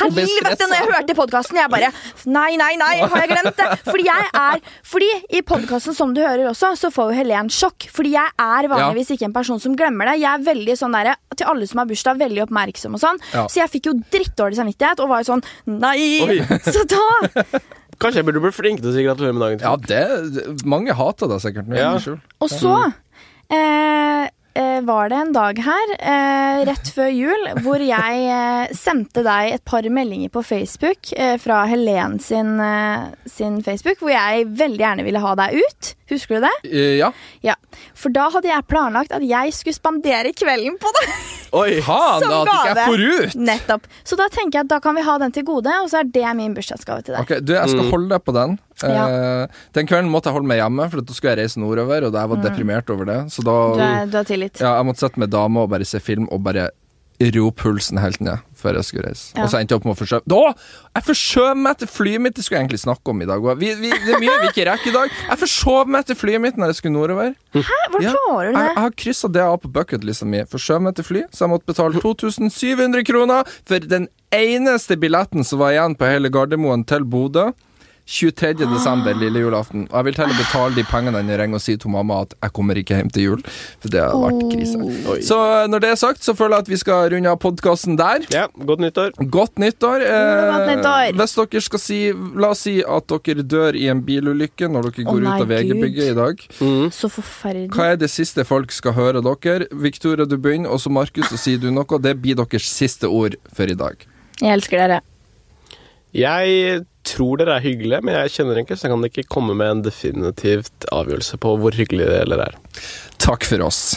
Helvete, når jeg hørte podkasten, jeg bare Nei, nei, nei, har jeg glemt det? Fordi jeg er Fordi i podkasten, som du hører også, så får jo Helen sjokk. Fordi jeg er vanligvis ikke en person som glemmer det. Jeg er veldig sånn derre til alle som har bursdag, veldig oppmerksom og sånn.
Ja.
Så jeg fikk jo drittdårlig samvittighet og var jo sånn
Oi.
Nei! Så da
Kanskje jeg burde bli flink til å si gratulerer med dagen. til
Ja, det Mange hater deg sikkert nå.
Ja.
Unnskyld.
Og så eh, eh, var det en dag her, eh, rett før jul, hvor jeg eh, sendte deg et par meldinger på Facebook eh, fra Helen sin, eh, sin Facebook, hvor jeg veldig gjerne ville ha deg ut. Husker du det?
Eh, ja.
Ja. For da hadde jeg planlagt at jeg skulle spandere kvelden på deg.
Oi!
Faen, da
Som
at ikke jeg
gave.
får ut!
Nettopp. Så da tenker jeg at da kan vi ha den til gode, og så er det min bursdagsgave til deg.
Ok, du, Jeg
Mm.
skal holde deg på den.
Ja. Mm.
Eh, den kvelden måtte jeg holde meg hjemme, for at da skulle jeg reise nordover. Og da jeg var deprimert over det Så da
Du, er, du har tillit.
ja, jeg måtte sette med dame og bare se film og bare ro pulsen helt ned før jeg skulle reise.
Ja.
Og så endte jeg opp med å forskjøve Da! Jeg forskjøv meg til flyet mitt! Det skulle jeg egentlig snakke om i dag også. Vi, vi, det er mye vi ikke rekker i dag. Jeg forskjøv meg til flyet mitt når jeg skulle nordover.
Hæ, Hvor
Ja,
klarer du
Jeg, jeg
det?
har kryssa det av på bucketlista mi. Forskjøv meg til fly, så jeg måtte betale 2700 kroner for den eneste billetten som var igjen på hele Gardermoen til Bodø. 23. desember, lille julaften. Og jeg vil heller betale de pengene enn å ringe og si til mamma at jeg kommer ikke hjem til jul. For det har vært krise.
Oi.
Så eh, når det er sagt, så føler jeg at vi skal runde av podkasten der.
Ja, godt nyttår.
Godt nyttår. Eh,
Godt nyttår.
Hvis dere skal si La oss si at dere dør i en bilulykke når dere
Å
går
nei,
ut av VG-bygget i dag.
Så forferdelig.
Hva er det siste folk skal høre dere? Victoria, du begynner, og så Markus, så sier du noe. Det blir deres siste ord for i dag.
Jeg elsker dere.
Jeg tror dere er hyggelige, men jeg kjenner dere ikke, så jeg kan ikke komme med en definitivt avgjørelse på hvor hyggelige dere er.
Takk for oss.